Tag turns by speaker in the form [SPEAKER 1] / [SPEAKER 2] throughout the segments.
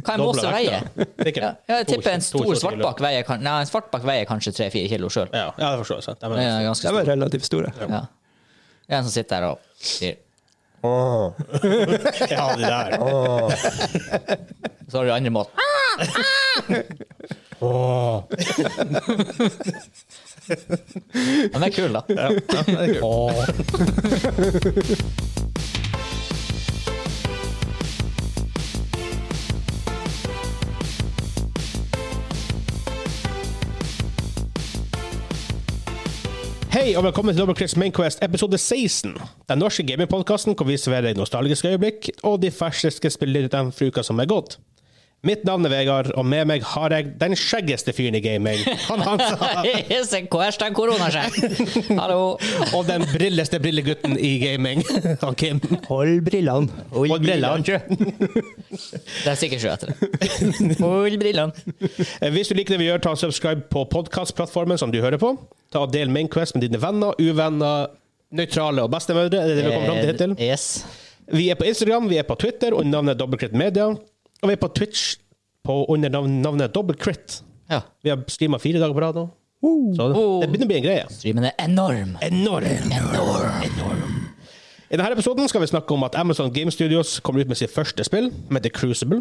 [SPEAKER 1] Hva en måse
[SPEAKER 2] Dobla
[SPEAKER 1] veier?
[SPEAKER 2] vekta. Sikkert.
[SPEAKER 1] Ja, jeg
[SPEAKER 2] To
[SPEAKER 1] tipper en
[SPEAKER 2] kilo- to
[SPEAKER 1] stor
[SPEAKER 2] kilo.
[SPEAKER 1] svartbakk veier, kan- nei, en svartbakk veier kanskje 3-4 kilo sjøl.
[SPEAKER 2] Ja, ja, det forstår jeg. sant. Det er
[SPEAKER 1] Det er
[SPEAKER 2] bare-
[SPEAKER 1] ganske
[SPEAKER 3] De
[SPEAKER 1] stor.
[SPEAKER 3] er relativt store.
[SPEAKER 1] Ja. Det er en som sitter der og sier
[SPEAKER 2] Ja, de der.
[SPEAKER 1] Så har du andre måten. Den er kul, da.
[SPEAKER 2] Ja, ja, det er kult. Hei og velkommen til Dobbeltklikks Mainquest episode 16. Den norske gamingpodkasten hvor vi serverer nostalgiske øyeblikk og de ferskeste spillerne fra uka som er gått. Mitt navn er Vegard, og med meg har jeg den skjeggeste fyren i gaming. Han Hansa.
[SPEAKER 1] Se, Hashtag koronasjekk! Hallo.
[SPEAKER 2] Og den brilleste brillegutten i gaming, han Kim.
[SPEAKER 3] Hold brillene.
[SPEAKER 2] Hold brillene.
[SPEAKER 1] Det er sikkert sjø etter det. Hold brillene.
[SPEAKER 2] Eh, Hvis du liker det vi gjør, ta og subscribe på podkastplattformen som du hører på. Ta og Del Mainquest med dine venner, uvenner, nøytrale og bestemødre. Er det det vi har kommet fram til hittil?
[SPEAKER 1] Yes.
[SPEAKER 2] Vi er på Instagram, vi er på Twitter under navnet Dobbeltkritt Media. Og vi er på Twitch på under navn- navnet Dobbeltkritt.
[SPEAKER 1] Ja.
[SPEAKER 2] Vi har streama fire dager på rad nå. Så det begynner å bli en greie.
[SPEAKER 1] Streamen er enorm.
[SPEAKER 2] Enorm.
[SPEAKER 1] Enorm.
[SPEAKER 2] I denne episoden skal vi snakke om at Amazon Game Studios kommer ut med sitt første spill, som heter Crucible.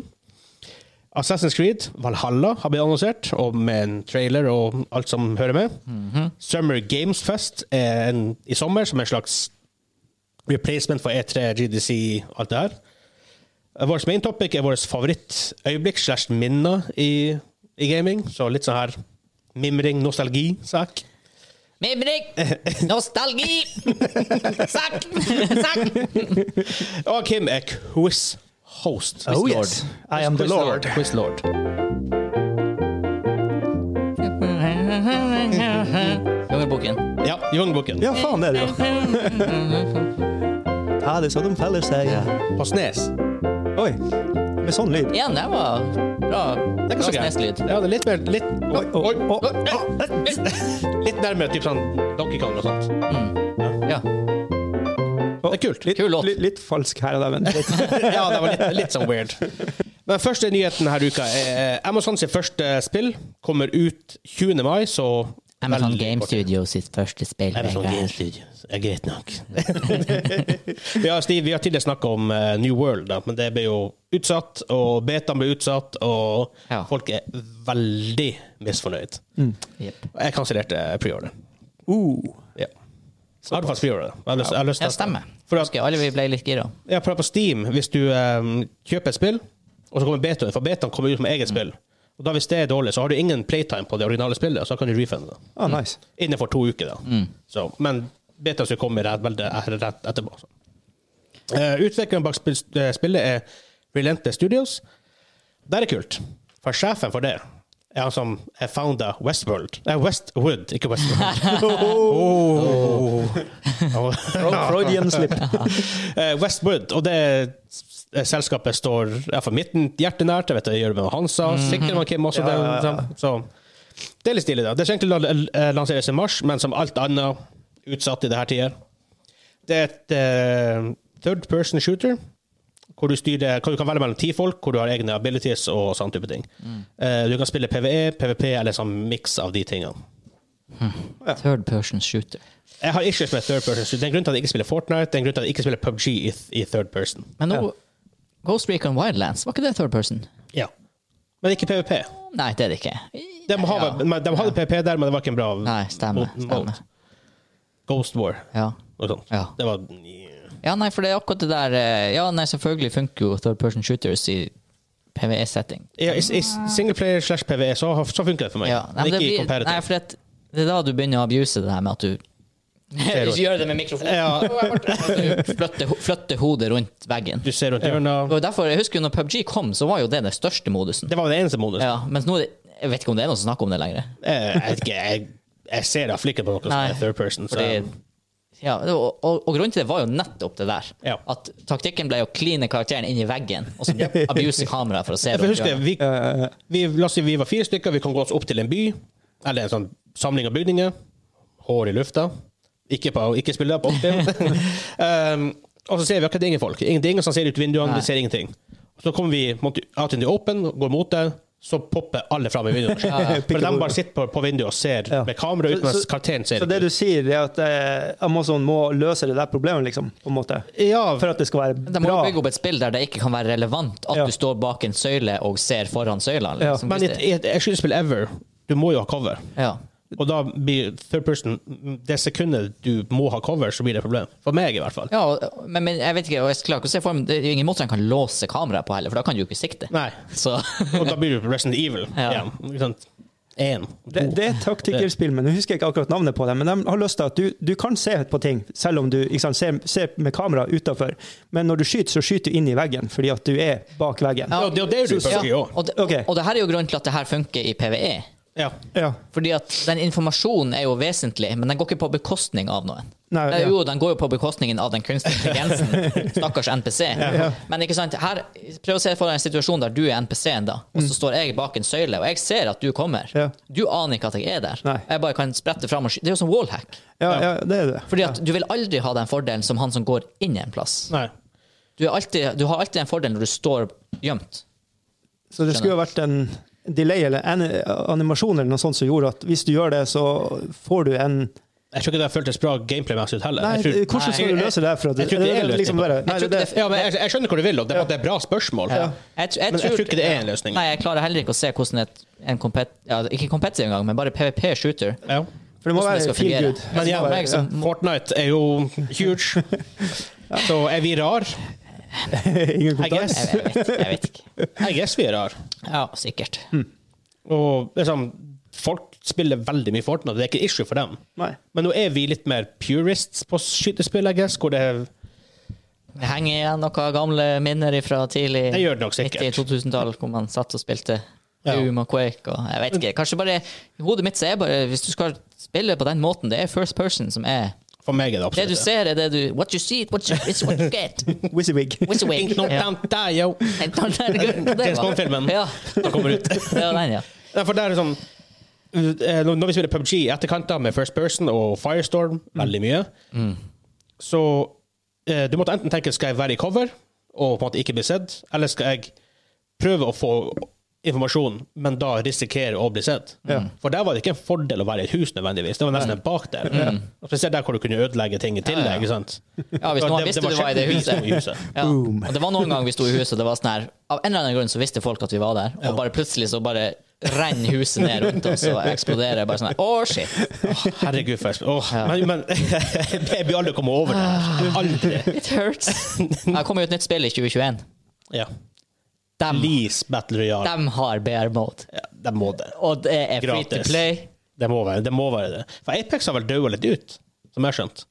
[SPEAKER 2] Assassin's Creed, Valhalla, har blitt annonsert, og med en trailer og alt som hører med. Summer Games Fest er en, i sommer, som er en slags replacement for E E3, GDC, alt det her. Vårt main topic er vårt favorittøyeblikk slash minner i, i gaming, så litt sånn her mimring, nostalgi-sak.
[SPEAKER 1] Mimring! Nostalgi! Sakk! Sakk!
[SPEAKER 2] Og Kim er quiz-host.
[SPEAKER 3] Oh, yes. I am the lord.
[SPEAKER 2] Quiz lord.
[SPEAKER 1] Kongebukken.
[SPEAKER 2] Ja, Youngbukken.
[SPEAKER 3] Ja, faen, det er det jo. Ja, det er så de feller seg.
[SPEAKER 2] På Snes.
[SPEAKER 3] Oi. Med sånn lyd.
[SPEAKER 1] Igjen, det var bra.
[SPEAKER 2] Det er ikke så gærent.
[SPEAKER 1] Sneslyd.
[SPEAKER 2] Ja, det er litt mer litt,
[SPEAKER 3] Oi, oi, oi, oi.
[SPEAKER 2] litt nærmere typ sånn Donkey Kong og sånt.
[SPEAKER 1] Ja.
[SPEAKER 2] Det er kult.
[SPEAKER 3] Litt,
[SPEAKER 1] Kul låt.
[SPEAKER 3] litt, litt falsk her og der, men litt.
[SPEAKER 2] ja, det var litt, litt sånn weird. Men første nyheten denne uka er Amazon sitt første spill kommer ut 20. mai, så
[SPEAKER 1] Amazon
[SPEAKER 2] veldig
[SPEAKER 1] Game
[SPEAKER 2] kort.
[SPEAKER 1] Studio sitt første spill.
[SPEAKER 2] Amazon
[SPEAKER 1] Vegard.
[SPEAKER 2] Game Studios er greit nok. vi, har, Stig, vi har tidligere snakka om eh, New World, da, men det ble jo utsatt. Og betaen ble utsatt, og
[SPEAKER 1] Ja. Mm.
[SPEAKER 2] folk er veldig misfornøyd.
[SPEAKER 1] Jep.
[SPEAKER 2] Jeg kansellerte preorder.
[SPEAKER 3] Uh.
[SPEAKER 2] Ja. Jeg hadde faktisk preorder. Jeg har lyst- jeg har lyst til
[SPEAKER 1] Ja,
[SPEAKER 2] å-
[SPEAKER 1] stemmer.
[SPEAKER 2] For at,
[SPEAKER 1] Husker alle vi ble litt gira.
[SPEAKER 2] ja, for at på Steam, hvis du eh, kjøper et spill, og så kommer betaen, for betaen kommer ut med
[SPEAKER 1] Mm.
[SPEAKER 2] eget spill, og da hvis det er dårlig, så har du ingen playtime på det originale spillet, så da kan du refunde det.
[SPEAKER 3] Ah, nice.
[SPEAKER 2] Innenfor to uker, da. Så, men beta som kommer rett, veldig, rett etterpå. Så. Eh, utviklingen bak spill, eh, spillet er Relente Studios. Der er kult. For sjefen for det er han som er founder Westworld. Nei, Westwood, ikke Westworld. oh.
[SPEAKER 3] Freudian slip.
[SPEAKER 2] Eh, Westwood, og det s- eh, selskapet står ja, for midten hjertenært. Jeg vet det gjør det med Hansa, sikkert med Kim også.
[SPEAKER 3] Mhm. Ja, ja, ja.
[SPEAKER 2] Det, liksom, så. det er litt stilig, da. Det skal egentlig la- eh, lanseres i mars, men som alt annet utsatt i det her tider. Det er et eh, third person shooter, hvor du, styrer, hvor du kan velge mellom ti folk, hvor du har egne abilities og sånn type ting.
[SPEAKER 3] Mm.
[SPEAKER 2] Eh, du kan spille PVE, PVP eller sånn miks av de tingene.
[SPEAKER 1] Third person shooter.
[SPEAKER 2] Jeg har issues med third person. Så det er en grunn til at jeg ikke spiller Fortnite, det er en grunn til at jeg ikke spiller PubG i, i third person.
[SPEAKER 1] Men nå Ghost Recon Wildlands, var ikke det third person?
[SPEAKER 2] Ja. Men ikke PVP.
[SPEAKER 1] Nei, det er det ikke.
[SPEAKER 2] De, har,
[SPEAKER 1] Ja.
[SPEAKER 2] men de hadde PVP der, men det var ikke en bra
[SPEAKER 1] Nei, stemmer.
[SPEAKER 2] mot-
[SPEAKER 1] stemmer.
[SPEAKER 2] mot. Ghost War
[SPEAKER 1] Ja.
[SPEAKER 2] og sånt.
[SPEAKER 1] Ja.
[SPEAKER 2] Det var
[SPEAKER 1] ja, nei, for det er akkurat det der eh, Ja, nei, selvfølgelig funker jo third person shooters i PVE-setting.
[SPEAKER 2] ja, I, i singleplayer slash PVE så, har- så funker det for meg.
[SPEAKER 1] Ja, nei,
[SPEAKER 2] men
[SPEAKER 1] men
[SPEAKER 2] ikke
[SPEAKER 1] det,
[SPEAKER 2] i
[SPEAKER 1] blir,
[SPEAKER 2] comparative.
[SPEAKER 1] nei, for det, det er da du begynner å abuse det her med at du
[SPEAKER 2] rundt.
[SPEAKER 1] Gjør det med mikrofonen.
[SPEAKER 2] Ja.
[SPEAKER 1] Du flytter, ho- flytter hodet rundt veggen.
[SPEAKER 2] Du ser rundt hjørnet.
[SPEAKER 1] Og derfor, jeg husker jo når PubG kom, så var jo det den største modusen.
[SPEAKER 2] Det var den eneste modusen.
[SPEAKER 1] Ja, mens nå er det, Jeg vet ikke om det er noen som snakker om det lenger.
[SPEAKER 2] Eh, Jeg, vet ikke, jeg, jeg ser da flikker på noe som
[SPEAKER 1] Nei,
[SPEAKER 2] er third person. Så,
[SPEAKER 1] Fordi, ja, det var- og, og grunnen til det var jo nettopp det der.
[SPEAKER 2] Ja.
[SPEAKER 1] At taktikken ble å kline karakteren inn i veggen, og så abuse kameraet for å se
[SPEAKER 2] Ja, for
[SPEAKER 1] rundt
[SPEAKER 2] husk det,
[SPEAKER 1] hjørnet.
[SPEAKER 2] vi, vi, la oss si vi var fire stykker, vi kan gå oss opp til en by, eller en sånn samling av bygninger, hår i lufta, ikke, på, ikke spille på opptil. um, og så ser vi akkurat ingen folk. Ingen, det er ingen som ser ut vinduene,
[SPEAKER 1] Nei.
[SPEAKER 2] vi ser ingenting. Så kommer vi mot- out in the open, går mot det, så popper alle fram i vinduet. For de bare sitter på, på vinduet og ser
[SPEAKER 3] Ja.
[SPEAKER 2] med kamera ut, mens karakteren ser
[SPEAKER 3] så det
[SPEAKER 2] ikke
[SPEAKER 3] du
[SPEAKER 2] ut.
[SPEAKER 3] sier, er at eh, Amazon må løse det der problemet, liksom? På en måte.
[SPEAKER 2] Ja,
[SPEAKER 3] For at det skal være
[SPEAKER 1] De må
[SPEAKER 3] bra.
[SPEAKER 1] jo bygge opp et spill der det ikke kan være relevant at
[SPEAKER 3] Ja.
[SPEAKER 1] du står bak en søyle og ser foran søyla. Liksom,
[SPEAKER 2] men i
[SPEAKER 1] hvis
[SPEAKER 2] et,
[SPEAKER 1] det-
[SPEAKER 2] i et skytespill ever, du må jo ha cover.
[SPEAKER 1] ja.
[SPEAKER 2] Og da blir third person Det sekundet du må ha cover, så blir det et problem. For meg, i hvert fall.
[SPEAKER 1] Ja, og- men, men jeg vet ikke, og jeg klarer ikke å se for meg Det er jo ingen måte han kan låse kameraet på heller, for da kan du jo ikke sikte.
[SPEAKER 2] Nei.
[SPEAKER 1] Så
[SPEAKER 2] Og da blir du Resident Evil.
[SPEAKER 1] Ja.
[SPEAKER 2] Ja. Ikke sant? En,
[SPEAKER 3] Det,
[SPEAKER 2] to.
[SPEAKER 3] det er et taktikkerspill, men jeg husker ikke akkurat navnet på det. Men de har lyst til at du, du kan se på ting, selv om du ikke sant, ser, ser med kamera utafor. Men når du skyter, så skyter du inn i veggen, fordi at du er bak veggen.
[SPEAKER 2] Ja, det er jo det du føler
[SPEAKER 1] ja,
[SPEAKER 2] jo.
[SPEAKER 1] og, det,
[SPEAKER 3] Ok.
[SPEAKER 1] og det her er jo grunnen til at det her funker i PVE.
[SPEAKER 2] Ja.
[SPEAKER 3] Ja.
[SPEAKER 1] Fordi at den informasjonen er jo vesentlig, men den går ikke på bekostning av noen.
[SPEAKER 3] Nei,
[SPEAKER 1] Det er
[SPEAKER 3] ja.
[SPEAKER 1] Jo, den går jo på bekostningen av den kunstige intelligensen. Stakkars NPC.
[SPEAKER 3] ja.
[SPEAKER 1] Men ikke sant, her, prøv å se for deg en situasjon der du er NPC-en, da, og så står jeg bak en søyle, og jeg ser at du kommer.
[SPEAKER 3] Mm. Ja.
[SPEAKER 1] Du aner ikke at jeg er der.
[SPEAKER 3] Nei.
[SPEAKER 1] Jeg bare kan sprette fram og skyte. Det er jo som wallhack.
[SPEAKER 3] Ja, ja, det er det.
[SPEAKER 1] Fordi at du vil aldri ha den fordelen som han som går inn i en plass.
[SPEAKER 2] Nei.
[SPEAKER 1] Du, er alltid, du har alltid en fordel når du står gjemt.
[SPEAKER 3] Så det skulle jo vært en delay eller en animasjon eller noe sånt som gjorde at hvis du gjør det, så får du en
[SPEAKER 2] Jeg tror ikke det føltes bra gameplay-messig ut heller.
[SPEAKER 3] Nei,
[SPEAKER 2] jeg tror,
[SPEAKER 3] hvordan skal du
[SPEAKER 2] Nei.
[SPEAKER 3] løse det? her For at,
[SPEAKER 2] Jeg tror ikke det er løsning
[SPEAKER 3] liksom
[SPEAKER 2] på
[SPEAKER 3] bare,
[SPEAKER 2] det.
[SPEAKER 3] nei,
[SPEAKER 1] Jeg tror
[SPEAKER 3] det,
[SPEAKER 1] ikke
[SPEAKER 3] det,
[SPEAKER 2] ja, men jeg, jeg skjønner hvor du vil, og det, det er bra spørsmål.
[SPEAKER 1] Ja. Jeg, tr- jeg,
[SPEAKER 2] Men jeg tror ikke det er en
[SPEAKER 1] ja.
[SPEAKER 2] løsning.
[SPEAKER 1] Nei, jeg klarer heller ikke å se hvordan et, en kompet, ja, ikke competitive engang, men bare PVP-shooter
[SPEAKER 2] Ja.
[SPEAKER 3] for det liksom må
[SPEAKER 1] hvordan det
[SPEAKER 3] være
[SPEAKER 1] skal
[SPEAKER 3] feel
[SPEAKER 1] fungere.
[SPEAKER 3] good.
[SPEAKER 1] Men
[SPEAKER 3] Det
[SPEAKER 2] ja,
[SPEAKER 3] må være-
[SPEAKER 1] meg som-
[SPEAKER 2] Fortnite er jo huge. Så er vi rar? I
[SPEAKER 3] Ingen kommentar.
[SPEAKER 2] guess.
[SPEAKER 1] Jeg, jeg, vet, jeg vet ikke.
[SPEAKER 2] I guess vi er rar.
[SPEAKER 1] Ja, sikkert.
[SPEAKER 2] Hm. Og liksom, folk spiller veldig mye Fortnite, det er ikke issue for dem.
[SPEAKER 3] Nei.
[SPEAKER 2] Men nå er vi litt mer purists på skytespill, I guess, hvor det er
[SPEAKER 1] Det henger igjen noen gamle minner fra tidlig
[SPEAKER 2] Det gjør det nok sikkert.
[SPEAKER 1] 90- 2000-tall, hvor man satt og spilte
[SPEAKER 2] Ja.
[SPEAKER 1] Doom og Quake og jeg vet ikke. Kanskje bare I hodet mitt så er bare Hvis du skal spille på den måten, det er first person som er
[SPEAKER 2] For meg er det
[SPEAKER 1] Det du
[SPEAKER 2] absolutt det.
[SPEAKER 1] ser, er det du What you see, what you, it's what you get.
[SPEAKER 3] Wizziwig.
[SPEAKER 1] Which way?
[SPEAKER 2] Ain't no
[SPEAKER 1] Ja.
[SPEAKER 2] down there, yo. James Bond-filmen.
[SPEAKER 1] Ja.
[SPEAKER 2] Den kommer ut.
[SPEAKER 1] Det var den, ja.
[SPEAKER 2] Nei, for det er sånn eh, Når vi spiller PubG i etterkant da, med First Person og Firestorm veldig mye, så eh, du måtte enten tenke skal jeg være i cover og på en måte ikke bli sett, eller skal jeg prøve å få informasjon, men da risikere å bli sett. For der var det ikke en fordel å være i et hus nødvendigvis, det var nesten en bakdel. Og Spesielt der hvor du kunne ødelegge ting i tillegg. ikke sant?
[SPEAKER 1] Ja, hvis
[SPEAKER 2] Så
[SPEAKER 1] noen
[SPEAKER 2] det-
[SPEAKER 1] visste
[SPEAKER 2] det var
[SPEAKER 1] du var i det
[SPEAKER 2] sjelden vi
[SPEAKER 1] huset.
[SPEAKER 2] sto i huset.
[SPEAKER 1] Ja.
[SPEAKER 3] Boom.
[SPEAKER 1] Og det var noen ganger vi sto i huset, og det var sånn her Av en eller annen grunn så visste folk at vi var der, og bare plutselig så bare renner huset ned rundt oss og eksploderer. Bare sånn her, Å, shit!
[SPEAKER 2] Åh, herregud, for jeg åh, Men, men jeg blir aldri kommet over det her. Aldri.
[SPEAKER 1] It hurts. Det kommer jo et nytt spill i 2021.
[SPEAKER 2] Ja.
[SPEAKER 1] De,
[SPEAKER 2] Lease Battle Royale.
[SPEAKER 1] de har BR mode.
[SPEAKER 2] Ja, det må det.
[SPEAKER 1] Og det er free to
[SPEAKER 2] Gratis.
[SPEAKER 1] play.
[SPEAKER 2] Det må være det. Må være det. For Apex har vel daua litt ut, som jeg har skjønt.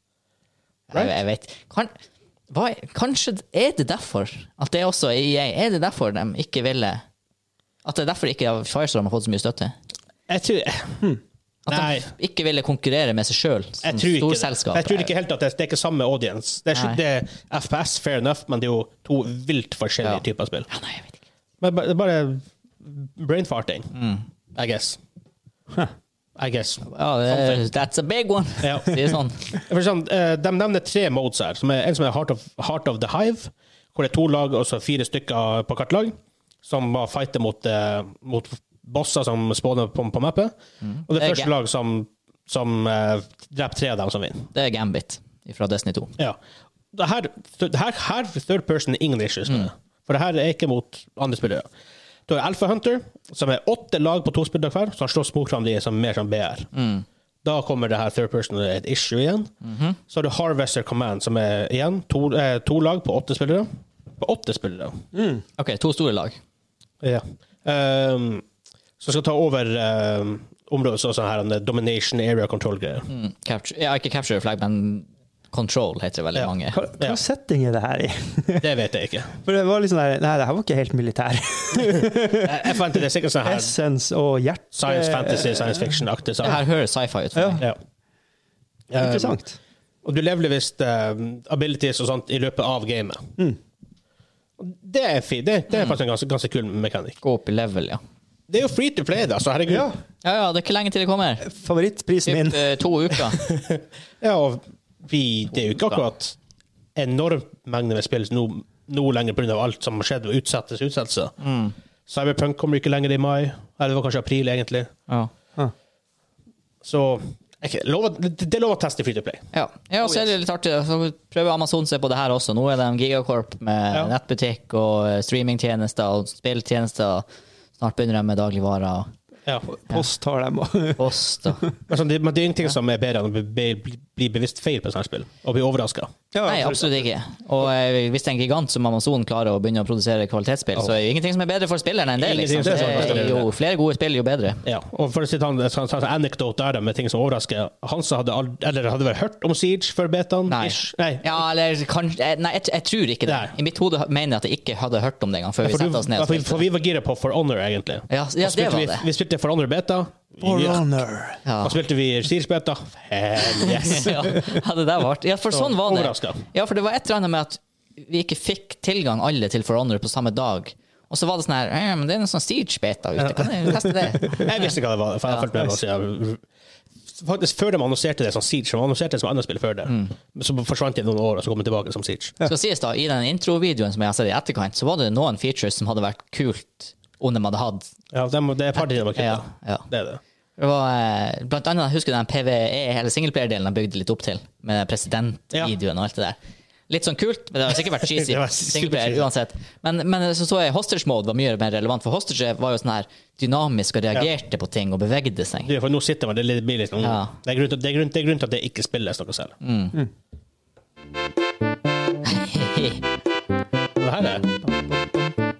[SPEAKER 1] Jeg, jeg vet kan, hva, Kanskje er det derfor at det er også i EA? Er det derfor de ikke ville At det er derfor ikke Firestorm har fått så mye støtte?
[SPEAKER 2] Jeg tror, Hm.
[SPEAKER 1] At
[SPEAKER 2] Nei.
[SPEAKER 1] de ikke ville konkurrere med seg sjøl som
[SPEAKER 2] jeg tror ikke det.
[SPEAKER 1] storselskap? eh.
[SPEAKER 2] Jeg tror ikke helt at det, det er ikke samme audience. Det er,
[SPEAKER 1] Nei.
[SPEAKER 2] ikke- det er FPS, fair enough, men det er jo to vilt forskjellige
[SPEAKER 1] Ja.
[SPEAKER 2] typer spill.
[SPEAKER 1] Ja, nei, jeg vet ikke.
[SPEAKER 2] Men ba- det er bare brainfarting,
[SPEAKER 1] Mm.
[SPEAKER 2] I guess. I guess.
[SPEAKER 1] Ja, det, that's a big one,
[SPEAKER 2] Ja.
[SPEAKER 1] sier sånn.
[SPEAKER 2] For sånn, eh, de nevner tre modes her. Som er, en som er Heart of, Heart of the Hive, hvor det er to lag og så fire stykker eh, på hvert lag, som må fighte mot, eh, mot bosser som spawner på, på mappet. Og det
[SPEAKER 1] Det er
[SPEAKER 2] første
[SPEAKER 1] gøy.
[SPEAKER 2] lag som, som eh, dreper tre av dem, som vinner.
[SPEAKER 1] Det er Gambit fra Destiny 2.
[SPEAKER 2] Ja. Det her, det her, her third person er ingen issues med det. For det her er ikke mot andre spillere. Du har Alpha Hunter, som er åtte lag på to spillere hver, som slåss mot hverandre som mer som BR. Da kommer det her third person er et issue igjen. Så har du Harvester Command, som er igjen to, eh, to lag på åtte spillere. På åtte spillere.
[SPEAKER 1] OK, to store lag.
[SPEAKER 2] Ja. Ehm, som skal ta over ehm, området sånn her, en domination area control-greier.
[SPEAKER 1] Mm, capture, ja, ikke Capture the Flag, men Control heter det veldig
[SPEAKER 2] Ja.
[SPEAKER 1] mange.
[SPEAKER 3] Hva, hva
[SPEAKER 2] Ja.
[SPEAKER 3] setting er det her i?
[SPEAKER 2] Det vet jeg ikke.
[SPEAKER 3] For det var liksom der, Nei, det her var ikke helt militær.
[SPEAKER 2] Jeg, jeg fant det er sikkert sånn her
[SPEAKER 3] Essence og hjerte
[SPEAKER 2] science fantasy, science fiction-aktig.
[SPEAKER 1] Det
[SPEAKER 2] sak.
[SPEAKER 1] her høres sci-fi ut. For
[SPEAKER 3] Ja.
[SPEAKER 1] meg.
[SPEAKER 2] Ja.
[SPEAKER 3] Interessant.
[SPEAKER 2] Og du leveler visst eh, abilities og sånt i løpet av gamet. Og Det er fint. Det, det er faktisk en ganske, ganske kul mekanikk.
[SPEAKER 1] Gå opp i level, ja.
[SPEAKER 2] Det er jo free to play, da, så herregud. Ja,
[SPEAKER 3] Ja.
[SPEAKER 1] Ja, ja, det er ikke lenge til det kommer.
[SPEAKER 3] Favorittprisen
[SPEAKER 1] Typ
[SPEAKER 3] min.
[SPEAKER 1] eh, to uker.
[SPEAKER 2] og vi, det er jo ikke akkurat enorm mengde med spill nå nå lenger pga. alt som har skjedd, og utsettes utsettelser. Cyberpunk kommer ikke lenger i mai. Eller det var kanskje april, egentlig.
[SPEAKER 1] Ja.
[SPEAKER 2] Så ok, lov, å- det det er lov å teste i Free to Play.
[SPEAKER 1] Ja, ja og så er det litt artig. Så prøver Amazon seg på det her også. Nå er de gigakorp med
[SPEAKER 2] Ja.
[SPEAKER 1] nettbutikk og eh, streamingtjenester og spilltjenester. Snart begynner de med dagligvarer og
[SPEAKER 2] Ja.
[SPEAKER 3] Post har dem. og-
[SPEAKER 1] post. Og...
[SPEAKER 2] Men, sånn, det, men det er ingenting som er bedre enn å bli, bli, bli bevisst feil på et sånt spill, og bli overraska.
[SPEAKER 3] Ja,
[SPEAKER 1] Nei, absolutt ikke. Og eh, hvis det er en gigant som Amazon klarer å begynne å produsere kvalitetsspill, så er jo ingenting som er bedre for spilleren enn det.
[SPEAKER 2] Ingenting
[SPEAKER 1] Liksom.
[SPEAKER 2] som er bedre for
[SPEAKER 1] Det er
[SPEAKER 2] spilleren.
[SPEAKER 1] jo flere gode spill, jo bedre.
[SPEAKER 2] Ja, og for å si en sånn, sånn anekdote er det med ting som overrasker. Hansa hadde, ald- eller hadde vel hørt om Siege før betaen?
[SPEAKER 1] Nei.
[SPEAKER 2] Ish. Nei.
[SPEAKER 1] Ja, eller kanskje eh, Nei, jeg, jeg tror ikke det.
[SPEAKER 2] Nei.
[SPEAKER 1] I mitt hode mener jeg at jeg ikke hadde hørt om det engang før vi
[SPEAKER 2] For,
[SPEAKER 1] satte
[SPEAKER 2] du,
[SPEAKER 1] oss ned. og
[SPEAKER 2] for, for
[SPEAKER 1] spilte.
[SPEAKER 2] vi var gira på For Honor, egentlig.
[SPEAKER 1] Ja, ja,
[SPEAKER 2] Og
[SPEAKER 1] det
[SPEAKER 2] spilte
[SPEAKER 1] var
[SPEAKER 2] vi,
[SPEAKER 1] det.
[SPEAKER 2] vi spilte For Honor beta.
[SPEAKER 3] For
[SPEAKER 2] Ja.
[SPEAKER 3] honor.
[SPEAKER 1] Ja.
[SPEAKER 2] Og spilte vi Siege beta. Hell yes.
[SPEAKER 1] ja, hadde det vært Ja, for sånn var det.
[SPEAKER 2] overrasket.
[SPEAKER 1] Ja, for det var et eller annet med at vi ikke fikk tilgang alle til For Honor på samme dag. Og så var det sånn her «Eh, men Det er en sånn Siege-beta ute, kan jeg teste det?
[SPEAKER 2] Jeg visste ikke hva det var. For jeg har fulgt med på siden. Faktisk Før de annonserte det som Siege, som annonserte det som annet spill før det,
[SPEAKER 1] Mm.
[SPEAKER 2] så forsvant det i noen år, og så kom det tilbake som Siege.
[SPEAKER 1] Skal sies da, I den introvideoen som jeg har sett i etterkant, så var det noen features som hadde vært kult om de hadde hatt.
[SPEAKER 2] Ja, de, det er et par ting de har
[SPEAKER 1] Ja,
[SPEAKER 2] kuttet.
[SPEAKER 1] ja.
[SPEAKER 2] Det er det.
[SPEAKER 1] Det var, eh, blant annet, jeg husker den PVE, eller singleplayer-delen de bygde litt opp til, med presidentvideoen og alt det der. Litt sånn kult, men det har sikkert vært cheesy.
[SPEAKER 2] Det var
[SPEAKER 1] singleplayer
[SPEAKER 2] supercheesy.
[SPEAKER 1] uansett. Men, men så så jeg hostage mode var mye mer relevant, for hostage var jo sånn her dynamisk og reagerte på ting og bevegde seg.
[SPEAKER 2] Du, for nå sitter man det litt- blir litt sånn-
[SPEAKER 1] Ja. Mm.
[SPEAKER 2] det, er grunn til, det, er grunn, det er grunn til at det ikke spilles noe selv.
[SPEAKER 1] det
[SPEAKER 2] Det her er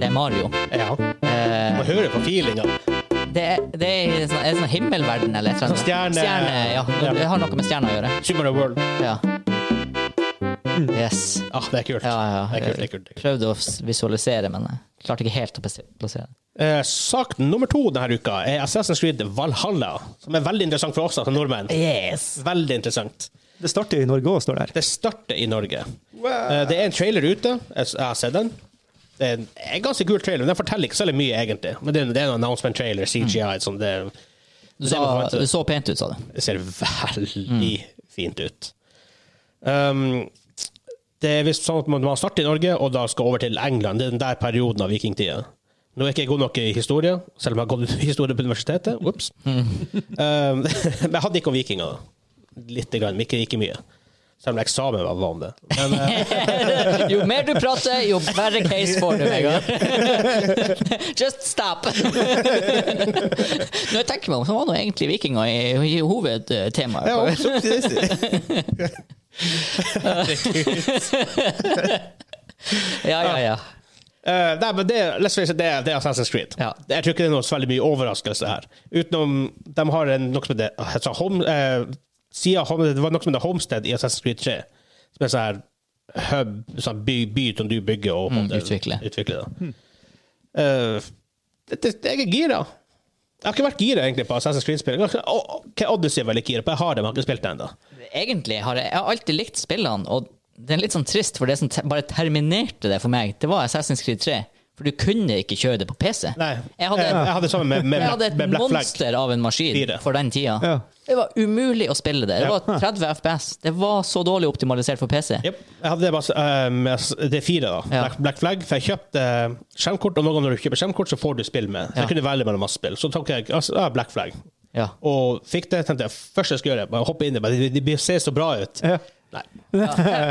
[SPEAKER 1] er Mario.
[SPEAKER 2] Ja.
[SPEAKER 1] Eh,
[SPEAKER 2] Man hører på feelinga.
[SPEAKER 1] det, er, det er en sånn, en sånn himmelverden eller et eller annet.
[SPEAKER 2] Sånn stjerne-
[SPEAKER 1] stjerne ja.
[SPEAKER 2] Ja.
[SPEAKER 1] Det har noe med stjerner å gjøre.
[SPEAKER 2] Super Mario World.
[SPEAKER 1] Ja. Yes.
[SPEAKER 2] Ah, det er kult.
[SPEAKER 1] Ja, ja.
[SPEAKER 2] Det er kult, det er kult. Det er kult.
[SPEAKER 1] Prøvde å s- visualisere, men jeg klarte ikke helt å plassi- plassere det.
[SPEAKER 2] Eh, sak nummer to denne uka er Assassin's Creed Valhalla, som er veldig interessant for oss altså nordmenn.
[SPEAKER 1] Yes!
[SPEAKER 2] Veldig interessant.
[SPEAKER 3] Det starter i Norge òg, står det her.
[SPEAKER 2] Det starter i Norge. Eh, det er en trailer ute. Jeg s- jeg har sett den. Det er en, en ganske kul trailer. men Den forteller ikke så veldig mye, egentlig. Men det er, det er en announcement-trailer, CGI, sånn det,
[SPEAKER 1] Du
[SPEAKER 2] det
[SPEAKER 1] sa,
[SPEAKER 2] man forventer.
[SPEAKER 1] du så pent ut, sa du.
[SPEAKER 2] Det ser veldig fint ut. Um, det er visst sånn at man man starter i Norge og da skal over til England. Det er den der perioden av vikingtida. Nå er ikke jeg god nok i historie, selv om jeg har gått i historie på universitetet. Ups. Um, men jeg hadde ikke om vikinger. Litt, grann, men ikke, ikke mye. Selv om eksamen var var om det. Men, eh,
[SPEAKER 1] jo mer du prater, jo verre case får du, Vegard. Just stop! Når jeg tenker meg om, så var nå egentlig vikinger i, i hovedtemaet.
[SPEAKER 2] jeg var også optimistisk.
[SPEAKER 1] Ja, ja, ja.
[SPEAKER 2] Eh, nei, men det, let's face it, det, er- det er Assassin's Creed.
[SPEAKER 1] Ja.
[SPEAKER 2] Det- Jeg tror ikke det er noe så veldig mye overraskelse her. Utenom De har en, noe som heter altså, home, eh, siden home, Det var noe som heter Homestead i Assassin's Creed 3. Som er sånn her hub, sånn by, by som du bygger og
[SPEAKER 1] Mm,
[SPEAKER 2] eh,
[SPEAKER 1] utvikler.
[SPEAKER 2] utvikler, da. Eh, det, det, jeg er gira. Jeg har ikke vært gira egentlig på Assassin's Creed-spill. Jeg har ikke- og- og- Odyssey er veldig gira på. Jeg har dem, jeg har ikke spilt det ennå.
[SPEAKER 1] Egentlig har jeg, jeg har alltid likt spillene, og det er litt sånn trist, for det som te bare terminerte det for meg, det var Assassin's Creed 3. For du kunne ikke kjøre det på PC.
[SPEAKER 2] Nei,
[SPEAKER 1] Jeg hadde,
[SPEAKER 2] Eh, jeg, jeg hadde sammen med, med,
[SPEAKER 1] jeg hadde
[SPEAKER 2] Black-
[SPEAKER 1] et
[SPEAKER 2] med Black Flag.
[SPEAKER 1] monster av en maskin
[SPEAKER 2] Fire.
[SPEAKER 1] for den tida.
[SPEAKER 3] Ja.
[SPEAKER 1] Det var umulig å spille det. Det
[SPEAKER 2] Ja.
[SPEAKER 1] var 30 FPS. Det var så dårlig optimalisert for PC.
[SPEAKER 2] Jep, Jeg hadde det bare eh, med s- Det er fire, da.
[SPEAKER 1] Ja.
[SPEAKER 2] Black, Black Flag. For jeg kjøpte eh, skjermkort, og noen ganger når du kjøper skjermkort, så får du spill med. Så
[SPEAKER 1] Ja.
[SPEAKER 2] jeg kunne velge mellom masse spill. Så tok jeg altså, ah, Black Flag.
[SPEAKER 1] Ja.
[SPEAKER 2] Og fikk det, tenkte jeg først jeg skulle gjøre det, bare hoppe inn i det. bare Det, det, det ser så bra ut.
[SPEAKER 3] Ja.
[SPEAKER 2] Nei,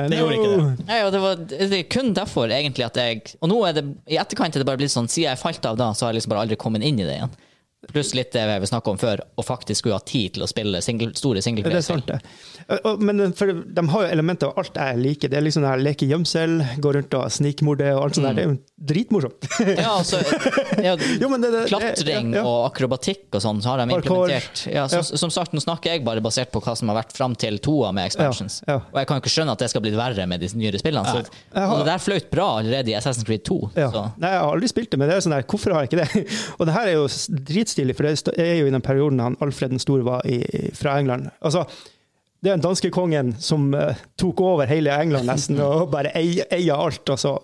[SPEAKER 2] det gjorde ikke det.
[SPEAKER 1] Nei, og det, var, det er kun derfor egentlig at jeg Og nå er det i etterkant er det bare blitt sånn siden jeg falt av da, så har jeg liksom bare aldri kommet inn i det igjen. Pluss litt det vi snakka om før, å faktisk skulle ha tid til å spille single, store
[SPEAKER 3] Det er
[SPEAKER 1] singleplayerspill.
[SPEAKER 3] sant, det. Og- og- Men for de har jo elementer av alt jeg liker. Det er liksom det her leke gjemsel, gå rundt og snikmorde og alt
[SPEAKER 2] Mm.
[SPEAKER 3] sånt der. Det er jo dritmorsomt.
[SPEAKER 1] Ja, altså, ja,
[SPEAKER 3] Jo, men det- det- det-
[SPEAKER 1] klatring
[SPEAKER 3] ja, ja.
[SPEAKER 1] og akrobatikk og sånn, så har de
[SPEAKER 3] Parkour.
[SPEAKER 1] implementert. Ja, så, Som sagt, nå snakker jeg bare basert på hva som har vært fram til toa med expansions.
[SPEAKER 3] Ja, ja.
[SPEAKER 1] Og jeg kan jo ikke skjønne at det skal bli verre med de nyere spillene. Så,
[SPEAKER 3] Jeg har-
[SPEAKER 1] og det der fløyt bra allerede i Assassin's Creed 2. Så.
[SPEAKER 3] Ja. Nei, jeg har aldri spilt det, men det er sånn der, hvorfor har jeg ikke det? Og det her er jo s- dritstilig, for det st- er jo i den perioden han Alfred den store var i, fra England. Altså, det er den danske kongen som eh, tok over hele England nesten, og bare ei- eier alt. og så-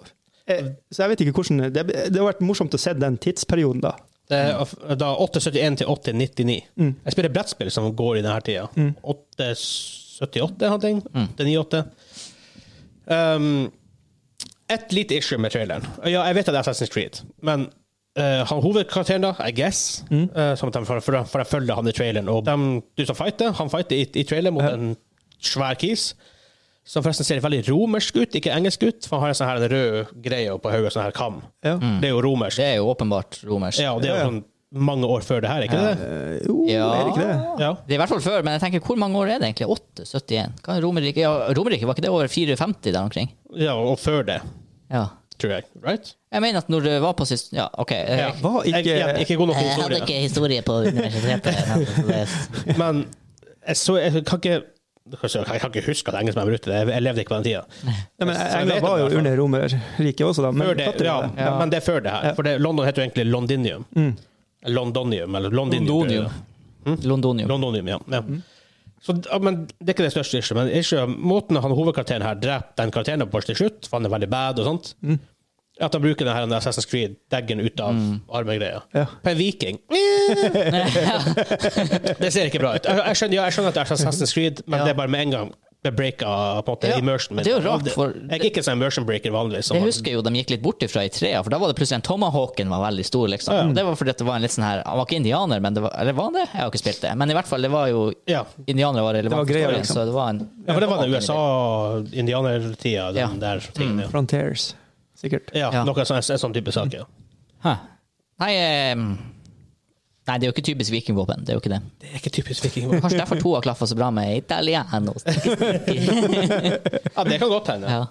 [SPEAKER 3] Eh, så jeg vet ikke hvordan Det, det har vært morsomt å se den tidsperioden, da.
[SPEAKER 2] det er f- da 871 til 899. Jeg spiller brettspill som går i denne tida. 878 eller noe. 898. Um, et lite issue med traileren. Ja, jeg vet at det er Assassin's Creed, men eh, han hovedkarakteren, da, I guess eh, som at de, for, for, for jeg følger han i traileren, og dem- du som fighter, han fighter i, i traileren mot en svær kis, som forresten ser veldig romersk ut, ikke engelsk ut, for han har en sånn her rød greie på hodet, sånn her kam.
[SPEAKER 3] Ja.
[SPEAKER 2] Det er jo romersk.
[SPEAKER 1] Det er jo åpenbart romersk.
[SPEAKER 2] Ja, og det er
[SPEAKER 3] Ja, ja.
[SPEAKER 2] jo sånn mange år før det her, ikke det?
[SPEAKER 3] Eh, Jo,
[SPEAKER 1] Ja.
[SPEAKER 3] er det ikke det?
[SPEAKER 2] Ja.
[SPEAKER 1] Det er i hvert fall før, men jeg tenker, hvor mange år er det egentlig? 8? 71? Hva er Romerike? Ja, Romerike, var ikke det over 450 der omkring?
[SPEAKER 2] ja, og før det,
[SPEAKER 1] Ja.
[SPEAKER 2] tror jeg. Right?
[SPEAKER 1] Jeg mener at når det var på sist... Ja, OK. Jeg,
[SPEAKER 2] Ja.
[SPEAKER 3] Var
[SPEAKER 2] Jeg,
[SPEAKER 3] ikke-
[SPEAKER 2] jeg, ikke god nok
[SPEAKER 1] jeg
[SPEAKER 2] historie.
[SPEAKER 1] hadde ikke historie på universitetet. men det-
[SPEAKER 2] Men jeg, så, jeg kan ikke jeg kan ikke huske at engelskmenn brukte det. Jeg levde ikke på den tida.
[SPEAKER 3] Nei, men
[SPEAKER 2] Så jeg vet
[SPEAKER 3] England var
[SPEAKER 2] om det,
[SPEAKER 3] jo
[SPEAKER 2] i hvert
[SPEAKER 3] under Romerriket også, da. Men
[SPEAKER 2] Før det,
[SPEAKER 3] fatter du
[SPEAKER 2] ja,
[SPEAKER 3] det?
[SPEAKER 2] ja. Men det er før det her. For det, London heter jo egentlig Londinium. Londonium, eller Londinium.
[SPEAKER 1] Londonium.
[SPEAKER 2] Mm.
[SPEAKER 1] Londonium.
[SPEAKER 2] Londonium, ja. ja. Så, ja, men Det er ikke det største issue, men issue, måten han hovedkarakteren her dreper den karakteren på til slutt, for han er veldig bad og sånt, at han bruker den her den Assassin's Creed-daggen ut av
[SPEAKER 1] Mm.
[SPEAKER 2] armegreia.
[SPEAKER 3] Ja.
[SPEAKER 2] På en viking Det ser ikke bra ut. Jeg, jeg, skjønner, ja, jeg skjønner at det er Assassin's Creed, men
[SPEAKER 1] Ja.
[SPEAKER 2] det er bare med en gang det breaka på en måte
[SPEAKER 1] Ja,
[SPEAKER 2] immersionen min.
[SPEAKER 1] det er jo rart,
[SPEAKER 2] Og
[SPEAKER 1] for-
[SPEAKER 2] Jeg er ikke sånn immersion breaker vanligvis.
[SPEAKER 1] Det
[SPEAKER 2] som-
[SPEAKER 1] husker jeg jo de gikk litt bort ifra i trea, for da var det plutselig en Tomahawken var veldig stor, liksom. Det var fordi at det var en litt sånn her Han var ikke indianer, men det var Eller var han det? Jeg har ikke spilt det. Men i hvert fall, det var jo
[SPEAKER 2] Ja.
[SPEAKER 1] Indianere var relevant.
[SPEAKER 3] Det var greia,
[SPEAKER 1] historie,
[SPEAKER 3] liksom.
[SPEAKER 1] Så det var en
[SPEAKER 2] ja, for det var den
[SPEAKER 1] Tomahawken i
[SPEAKER 2] USA-indianertida, den
[SPEAKER 1] Ja. Mm.
[SPEAKER 2] der tingen. Ja.
[SPEAKER 3] Frontiers, sikkert.
[SPEAKER 2] Ja,
[SPEAKER 1] Ja.
[SPEAKER 2] Noe sånn, en sånn type sak, ja.
[SPEAKER 1] Hæ. Nei, eh, nei, det er jo ikke typisk vikingvåpen. Det er jo ikke det.
[SPEAKER 2] Det er ikke typisk viking.
[SPEAKER 1] Kanskje derfor to har klaffa så bra med italiano.
[SPEAKER 2] Ja, det kan godt hende.
[SPEAKER 1] Ja.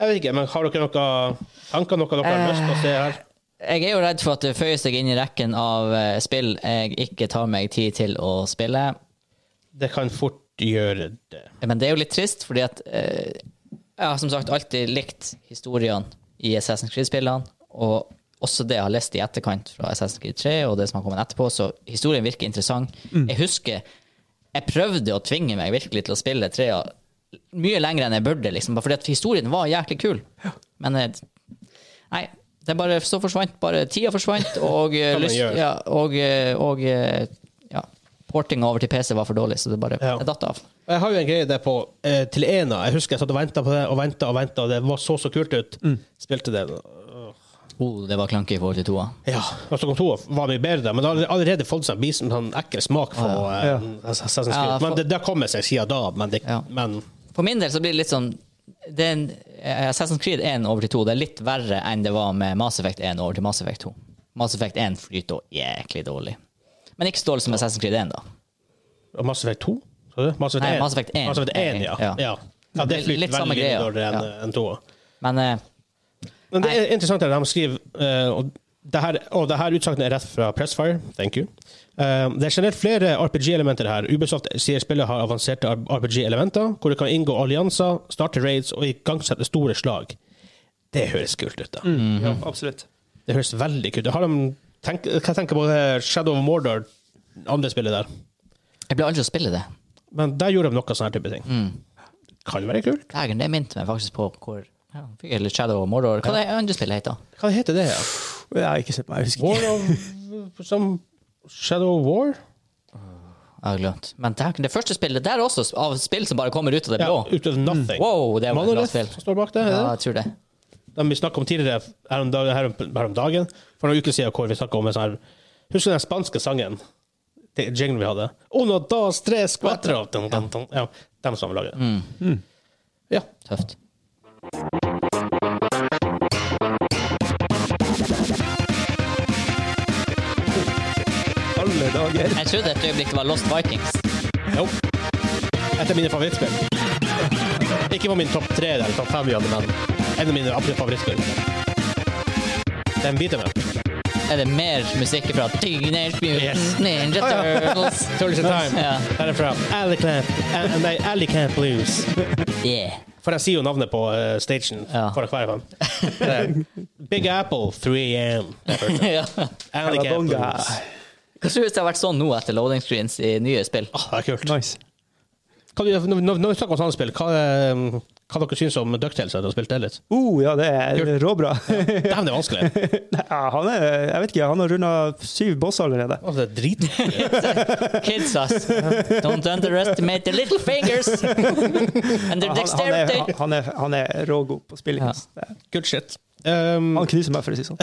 [SPEAKER 2] Jeg vet ikke, men har dere noen tanker, noe dere har lyst til å se her?
[SPEAKER 1] Jeg er jo redd for at det føyer seg inn i rekken av eh, spill jeg ikke tar meg tid til å spille.
[SPEAKER 2] Det kan fort gjøre det.
[SPEAKER 1] Men det er jo litt trist, fordi at eh, jeg har som sagt alltid likt historiene i Assassin's Creed-spillene, og også det jeg har lest i etterkant fra Assassin's Creed 3, og det som har kommet etterpå, så historien virker interessant. Jeg husker jeg prøvde å tvinge meg virkelig til å spille trea mye lenger enn jeg burde, liksom, bare fordi at historien var jæklig kul. Men eh, nei, det bare så forsvant, bare tida forsvant, og, eh,
[SPEAKER 2] Kan man
[SPEAKER 1] lyst,
[SPEAKER 2] gjøre.
[SPEAKER 1] ja, og, eh, og eh, ja, portinga over til PC var for dårlig, så det bare
[SPEAKER 2] Ja.
[SPEAKER 1] det datt av.
[SPEAKER 2] Og Jeg har jo en greie der på eh, til ena. Jeg husker jeg satt og venta på det og venta og venta, og det var så så kult ut.
[SPEAKER 1] Mm.
[SPEAKER 2] Spilte det.
[SPEAKER 1] Oh, det var klanke i forhold til toa.
[SPEAKER 2] Ja, og så kom to og var mye bedre, men det har allerede fått seg en bit sånn ekkel smak på
[SPEAKER 1] Ah,
[SPEAKER 2] eh,
[SPEAKER 3] Ja.
[SPEAKER 2] Assassin's Creed.
[SPEAKER 1] Ja, for-
[SPEAKER 2] Men det, det har kommet seg siden da, men det,
[SPEAKER 1] Ja.
[SPEAKER 2] men
[SPEAKER 1] For min del så blir det litt sånn det er en, eh, Assassin's Creed 1 over til 2 det er litt verre enn det var med Mass Effect 1 over til Mass Effect 2. Mass Effect 1 flyter også jæklig dårlig. Men ikke så dårlig som Assassin's Creed 1, da.
[SPEAKER 2] og Mass Effect 2? Sa du? Mass Effect
[SPEAKER 1] Nei,
[SPEAKER 2] 1.
[SPEAKER 1] Mass Effect 1.
[SPEAKER 2] Mass Effect 1 ja.
[SPEAKER 1] Ja.
[SPEAKER 2] Ja. Ja. det
[SPEAKER 1] Litt-
[SPEAKER 2] flyter
[SPEAKER 1] litt samme
[SPEAKER 2] veldig mye
[SPEAKER 1] greia.
[SPEAKER 2] dårligere enn
[SPEAKER 1] Ja.
[SPEAKER 2] enn toa.
[SPEAKER 1] Men eh,
[SPEAKER 2] Men det er interessant at de skriver eh, og det her, og det her utsagnet er rett fra Pressfire. Thank you. Eh, det er generelt flere RPG-elementer her. Ubisoft sier spillet har avanserte RPG-elementer, hvor det kan inngå allianser, starte raids og igangsette store slag. Det høres kult ut, da.
[SPEAKER 3] Ja, absolutt.
[SPEAKER 2] Det høres veldig kult ut. Har de tenk, hva tenker på det Shadow of Mordor, andre spillet der?
[SPEAKER 1] jeg ble aldri å spille det.
[SPEAKER 2] Men der gjorde de noe sånn her type ting. Kan være kult.
[SPEAKER 1] Dagen, det minte meg faktisk på hvor ja, fikk jeg litt Shadow of Mordor. Hva det andre spillet heter
[SPEAKER 2] Hva heter det? Ja?
[SPEAKER 3] Jeg har ikke sett meg, jeg husker ikke.
[SPEAKER 2] War of some Shadow of War?
[SPEAKER 1] Jeg har glemt. Men dagen, det første spillet der også, av spill som bare kommer ut av det blå.
[SPEAKER 2] Ja, ut of nothing.
[SPEAKER 1] Mm. Wow, det var et bra
[SPEAKER 2] Monolith
[SPEAKER 1] spill.
[SPEAKER 2] som står bak det. er det
[SPEAKER 1] Ja, jeg tror det.
[SPEAKER 2] De vi snakket om tidligere her om dagen, her om, her om dagen for noen uker siden, hvor vi snakket om en sånn her Husker du den spanske sangen? Det jinglen vi hadde? Uno, dos, tres, cuatro. Dun, dun, dun. Ja, dem som har laget det.
[SPEAKER 1] Mm.
[SPEAKER 2] Ja.
[SPEAKER 1] Tøft.
[SPEAKER 3] Alle dager.
[SPEAKER 1] Jeg trodde et øyeblikk det var Lost Vikings.
[SPEAKER 2] Jo. Et av mine favorittspill. Ikke på min topp tre eller topp fem, Janne, men en av mine absolutt favorittspill. Den biter meg.
[SPEAKER 1] Er det mer musikk fra Teenage Mutant
[SPEAKER 2] Yes.
[SPEAKER 1] Ninja Turtles?
[SPEAKER 2] Turtles in Time.
[SPEAKER 1] Ja.
[SPEAKER 2] Der er fra Alley Camp, eh, nei, Alley Camp Blues.
[SPEAKER 1] Yeah.
[SPEAKER 2] For jeg sier jo navnet på eh, stagen
[SPEAKER 1] Ja.
[SPEAKER 2] for hver gang. Det er Big Apple, 3 AM.
[SPEAKER 1] ja.
[SPEAKER 2] Alec
[SPEAKER 3] Cowabunga.
[SPEAKER 2] Apples. Ah,
[SPEAKER 1] Hva tror du hvis det har vært sånn nå etter loading screens i nye spill?
[SPEAKER 2] Åh, det er kult.
[SPEAKER 3] Nice.
[SPEAKER 2] Hva, når, når vi snakker om sånne spill, hva, eh, hva dere syns om Ducktails? Har dere spilt det litt?
[SPEAKER 3] Oh, ja, det er råbra.
[SPEAKER 2] Dæven, det er vanskelig.
[SPEAKER 3] Ja, han er, jeg vet ikke, han har runda syv bosser allerede.
[SPEAKER 2] Altså, det er drit. Ah,
[SPEAKER 1] Kids, ass. Don't underestimate the little fingers and their
[SPEAKER 3] Han, han, er,
[SPEAKER 1] dexterity.
[SPEAKER 3] han- han, er, han er rågod på spilling.
[SPEAKER 1] Ja.
[SPEAKER 3] ass. Det er-
[SPEAKER 2] Good shit. Um,
[SPEAKER 3] Han knuser meg, for å si det sånn.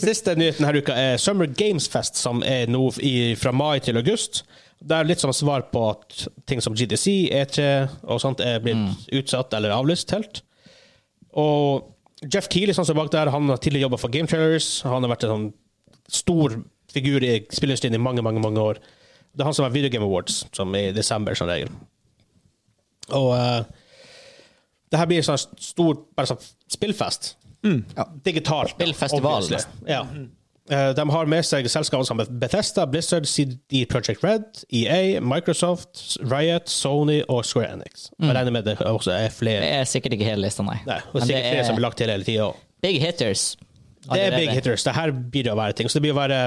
[SPEAKER 2] Siste nyheten denne uka er Summer Games Fest, som er nå i, fra mai til august. Det er litt som svar på at ting som GDC, E3 E og sånt er blitt
[SPEAKER 1] Mm.
[SPEAKER 2] utsatt eller avlyst helt. Og Jeff Keeley, sånn som er bak der, han har tidligere jobba for Game Trailers. Han har vært en sånn stor figur i spillerstien i mange, mange mange år. Det er han som har Video Game Awards, som er i desember som regel. Og eh, det her blir en sånn stor bare sånn spillfest. Digitalt. da,
[SPEAKER 1] Spillfestival,
[SPEAKER 2] obviously.
[SPEAKER 1] nesten.
[SPEAKER 2] Ja. Eh, de har med seg selskaper som Bethesda, Blizzard, CD Project Red, EA, Microsoft, Riot, Sony og Square Enix.
[SPEAKER 1] Mm.
[SPEAKER 2] Jeg regner med det også er flere.
[SPEAKER 1] Det er sikkert ikke hele lista, nei.
[SPEAKER 2] Nei, og
[SPEAKER 1] Men
[SPEAKER 2] sikkert
[SPEAKER 1] det
[SPEAKER 2] flere som blir
[SPEAKER 1] er
[SPEAKER 2] lagt til hele tida òg.
[SPEAKER 1] big hitters.
[SPEAKER 2] Det er
[SPEAKER 1] allerede.
[SPEAKER 2] big hitters. Det her blir det å være ting. Så det blir å være,